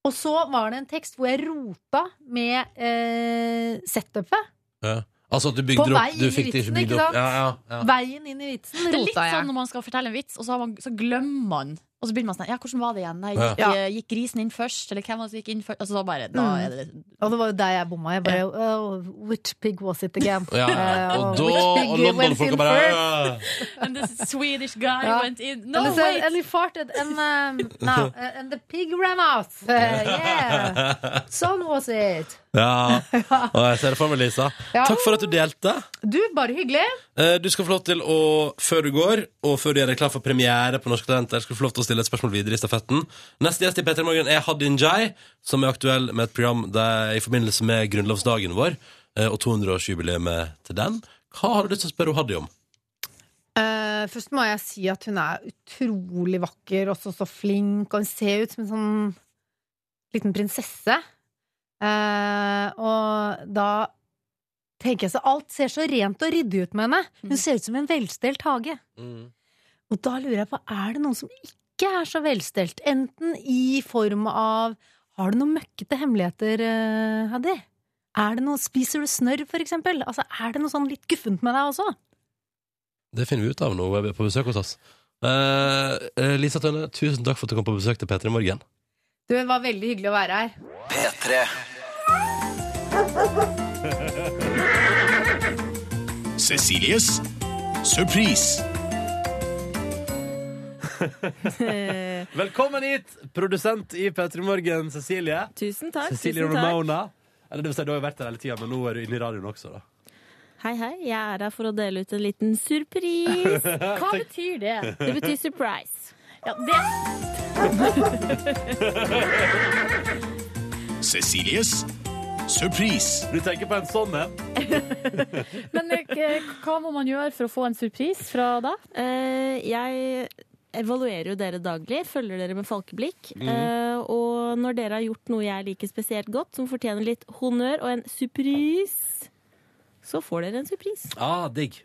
L: Og så var det en tekst hvor jeg rota med eh, setupet.
B: ja. Altså at du
L: På
B: bygde det
L: vei
B: opp
L: inn
B: Du
L: i
B: fikk det
L: vitsen,
B: ikke bygd
L: ikke
B: opp.
L: sant?
B: Ja, ja, ja.
L: Veien inn i vitsen
N: Det er litt
L: rota
N: sånn
L: jeg.
N: når man skal fortelle en vits, og så, har man, så glemmer man. Og så begynner man sånn Ja, hvordan var det igjen? Nei,
L: Ja.
N: gikk, eh,
L: Ja.
N: gikk grisen inn først? Eller hvem var det som gikk inn først? Altså, da bare Da
L: Mm.
N: er det
L: Og det var jo der jeg bomma. Jeg bare oh, Which pig was it again?
B: Ja,
L: Eh,
B: og da
L: which pig
B: og
L: went in
B: London-folka bare
L: first?
B: «Øh».
N: And the Swedish guy
L: Ja.
N: went in No,
L: and, he said-
N: wait!
L: and he farted, and, um, no, uh, and the pig ran out. Uh, yeah. Sånn was it.
B: Ja. Og jeg ser det for meg, Lisa.
L: Ja.
B: Takk for at du delte.
L: Du, bare hyggelig.
B: Eh, Du skal få lov til å, før du går, og før du gjør deg klar for premiere på Norske Talenter, skal du få lov til å stille et spørsmål videre i stafetten. Neste gjest i P3 Morgen er Hadin Jai, som er aktuell med et program der, i forbindelse med grunnlovsdagen vår eh, og 200-årsjubileet til den. Hva har du lyst til å spørre Haddy om?
L: Eh, først må jeg si at hun er utrolig vakker, også så flink, og hun ser ut som en sånn liten prinsesse. Eh, og da tenker jeg så alt ser så rent og ryddig ut med henne. Hun ser ut som en velstelt hage. Og da lurer jeg på, er det noen som ikke er så velstelt? Enten i form av Har du noen møkkete hemmeligheter, eh, Haddy? Er det noe, Spiser du snørr, for eksempel? Altså, er det noe sånn litt guffent med deg også?
B: Det finner vi ut av når hun er på besøk hos oss. Eh, eh, Lisa Tønne, tusen takk for at du kom på besøk til P3 Morgen.
L: Du, det var veldig hyggelig å være her.
A: P3.
J: Cecilies surprise.
B: Velkommen hit, produsent i P3 Morgen, Cecilie.
P: Tusen takk.
B: Cecilie
P: tusen takk.
B: Ramona. Eller det vil si, du har jo vært der hele tida, men nå er du inne i radioen også, da.
P: Hei, hei. Jeg er her for å dele ut en liten surprise.
B: Hva Tenk-
P: betyr det? Det betyr surprise. Ja, det
J: Cecilies surprise.
B: Du tenker på en sånn en?
N: Men eh, k- hva må man gjøre for å få en surprise fra da?
P: Eh, jeg evaluerer jo dere daglig, følger dere med falkeblikk.
N: Mhm.
P: Eh, og når dere har gjort noe jeg liker spesielt godt, som fortjener litt honnør og en surprise, så får dere en surprise.
B: Ah, digg.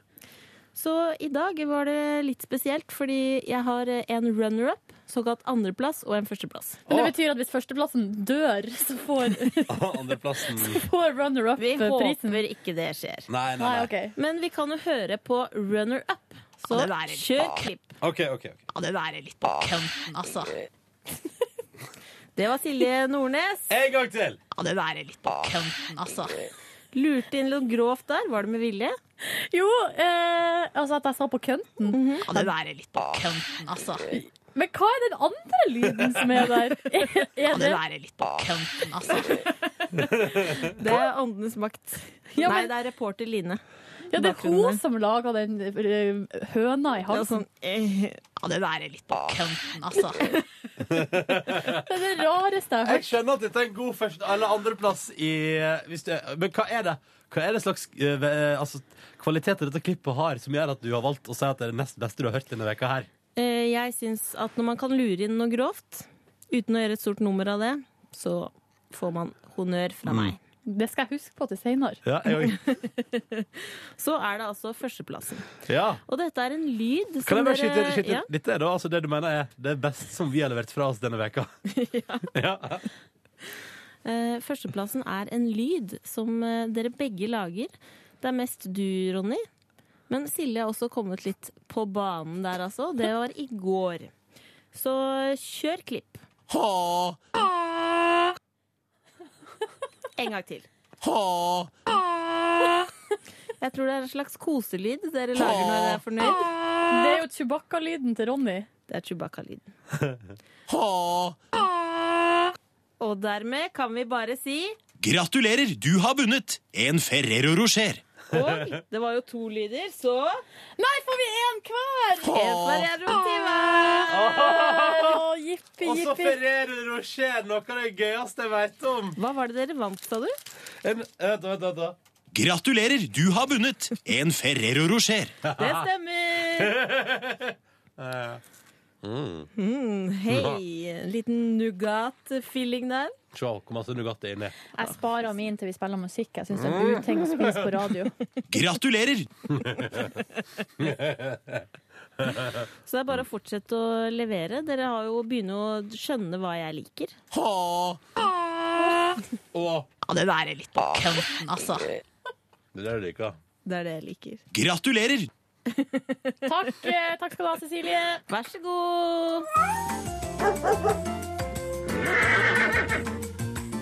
P: Så i dag var det litt spesielt, fordi jeg har eh, en runner-up, såkalt andreplass, og en førsteplass.
N: Men det betyr at hvis førsteplassen dør, så får,
B: Andreplassen
N: får runner-up eh,
P: Vi
N: prisen.
P: håper ikke det skjer.
B: Nei, nei, nei. Nei, ok.
P: Men vi kan jo høre på runner-up.
N: Ja,
P: Så
N: det der er litt
P: kjør
N: bra.
P: klipp.
B: OK, OK. ok.
N: Ja, det der er litt på kønten, altså.
P: Det var Silje Nordnes.
B: En gang til!
N: Ja, det der er litt på kønten, altså.
P: Lurte inn noe grovt der. Var det med vilje?
N: Jo, eh, altså at jeg sa på kønten. Ja, det der er litt på kønten, altså. Men hva er den andre lyden som er der? Ja, det der er litt på kønten, altså.
P: Det er Åndenes makt.
N: Ja,
P: Nei,
N: men-
P: det er reporter Line.
N: Ja, det er hun
P: Bakgrunnen der.
N: som laga den eh, høna i
P: Det er
N: halsen.
P: sånn, eh,
N: Ja, det der er litt på kønten, altså. Det er det rareste jeg har
B: Jeg
N: hørt.
B: skjønner at dette er en god første- eller andreplass i eh, hvis du, Men hva er det Hva er det slags eh, ve- altså, kvaliteter dette klippet har, som gjør at du har valgt å si at det er det nest beste du har hørt denne veka her?
P: eh, jeg syns at når man kan lure inn noe grovt uten å gjøre et stort nummer av det, så får man honnør fra
B: Mm.
P: meg.
N: Det skal jeg huske på til seinere.
B: Ja, jeg òg.
P: Så er det altså førsteplassen.
B: Ja.
P: Og dette er en lyd som
B: Kan jeg bare
P: dere-
B: skyte, skyte
P: Ja.
B: Dette er da altså det du mener er det beste som vi har levert fra oss denne veka ja.
P: Eh, Førsteplassen er en lyd som eh, dere begge lager. Det er mest du, Ronny. Men Silje har også kommet litt på banen der, altså. Det var i går. Så kjør klipp. En gang til. Jeg tror det er en slags koselyd dere lager når dere er fornøyd.
N: Det er jo Chewbacca-lyden til Ronny.
P: Det er Chewbacca-lyden. Og dermed kan vi bare si
J: Gratulerer, du har vunnet en Ferrero Rocher.
P: Og det var jo to lyder, så
N: Nei, får vi én hver?
P: En hver er
B: Åh!
P: jippi,
B: Og så Ferrero Rocher, noe av det gøyeste jeg vet om.
P: Hva var det dere vant, sa du?
B: En, vent, vent, vent, vent.
J: Gratulerer, du har vunnet en Ferrero Rocher.
P: Det stemmer.
B: Mm.
P: Mm, Hei. En liten nougat-filling der.
B: Se hvor masse Nougat det er inni.
C: Jeg sparer min til vi spiller musikk. Jeg syns det er en uting å spise på radio.
J: Gratulerer!
P: Så det er bare å fortsette å levere. Dere har jo begynner jo å skjønne hva jeg liker.
N: Ja, det der er litt på kønten, altså.
B: Det der liker jeg.
P: Det er det jeg liker.
J: Gratulerer!
C: Takk, eh, takk skal du ha, Cecilie.
P: Vær så god.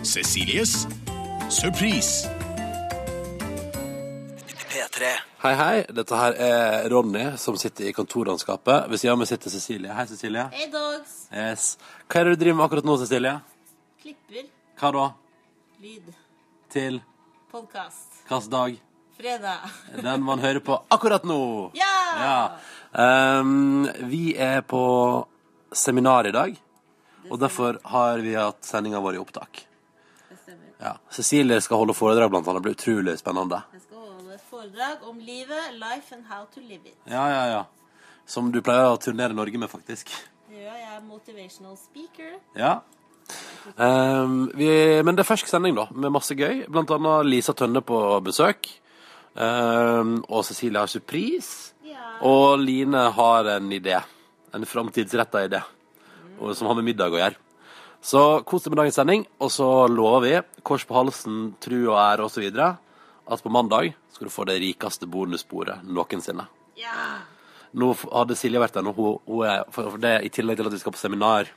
J: Cecilies surprise.
A: P3.
B: Hei, hei. Dette her er Ronny, som sitter i kontorlandskapet. Ved siden av meg sitter Cecilie. Hei, Cecilie.
K: Hey dogs.
B: Yes. Hva er det du driver med akkurat nå, Cecilie?
K: Klipper.
B: Hva da?
K: Lyd.
B: Til
K: Podkast.
B: hvilken dag?
K: Fredag.
B: Den man hører på akkurat nå.
K: Ja!
B: Ehm, vi er på seminar i dag, og derfor har vi hatt sendinga vår i opptak. Ja. Cecilie skal holde foredrag, blant annet. Det blir utrolig spennende.
K: Jeg skal holde et foredrag om livet, life and how to live it.
B: Ja, ja, ja. Som du pleier å turnere Norge med, faktisk.
K: Det gjør jeg. Motivational speaker.
B: Ja. Ehm, vi, men det er fersk sending, da, med masse gøy. Blant annet Lisa Tønne på besøk. Ehm, og Cecilie har surprise. Og Line har en idé. En framtidsretta idé. Og, som har med middag å gjøre. Så kos deg med dagens sending, og så lover vi, kors på halsen, tru og ære osv., at på mandag skal du få det rikeste bonussporet noensinne. Nå f- hadde Silje vært der nå, hun, hun er, for for det er i tillegg til at vi skal på seminar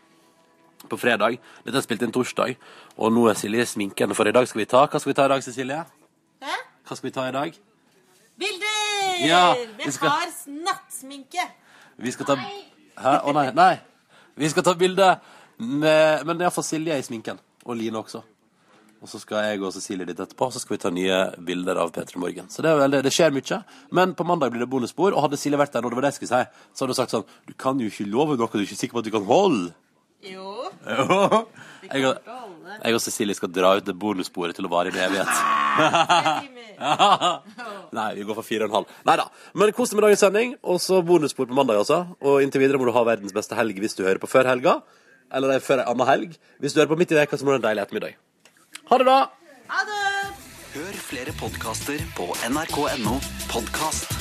B: på fredag. Dette er spilt inn torsdag, og nå er Silje sminkende for i dag. Skal vi ta, Hva skal vi ta i dag, Cecilie?
K: Hæ?
B: Hva skal vi ta i dag?
K: Bilder!
B: Ja, vi
K: Jeg
B: skal-
K: har nattsminke.
B: Vi skal ta Hæ? Å nei, nei. Vi skal ta bilde med Men iallfall Silje er i sminken. Og Line også. Og så skal jeg og Cecilie dit etterpå, så skal vi ta nye bilder av P3 Morgen. Så det, er veldig, det skjer mye. Men på mandag blir det bonusspor. Og hadde Silje vært der når det var det jeg skulle si, så hadde hun sagt sånn Du kan jo ikke love noe du er ikke sikker på at du kan holde.
K: Jo.
B: Jo.
K: Vi kommer
B: Jeg og,
K: til å holde det.
B: jeg og Cecilie skal dra ut det bonussporet til å vare i en evighet. Nei, vi går for fire og en halv. Nei da. Men kos deg med dagens sending, og så bonusspor på mandag, altså. Og inntil videre må du ha verdens beste helg hvis du hører på før helga. Eller ei- før ei anna helg. Hvis du hører på midt i veka, så må du ha en deilig ettermiddag. Ha det, da!
A: Hør flere podkaster på nrk.no podkast.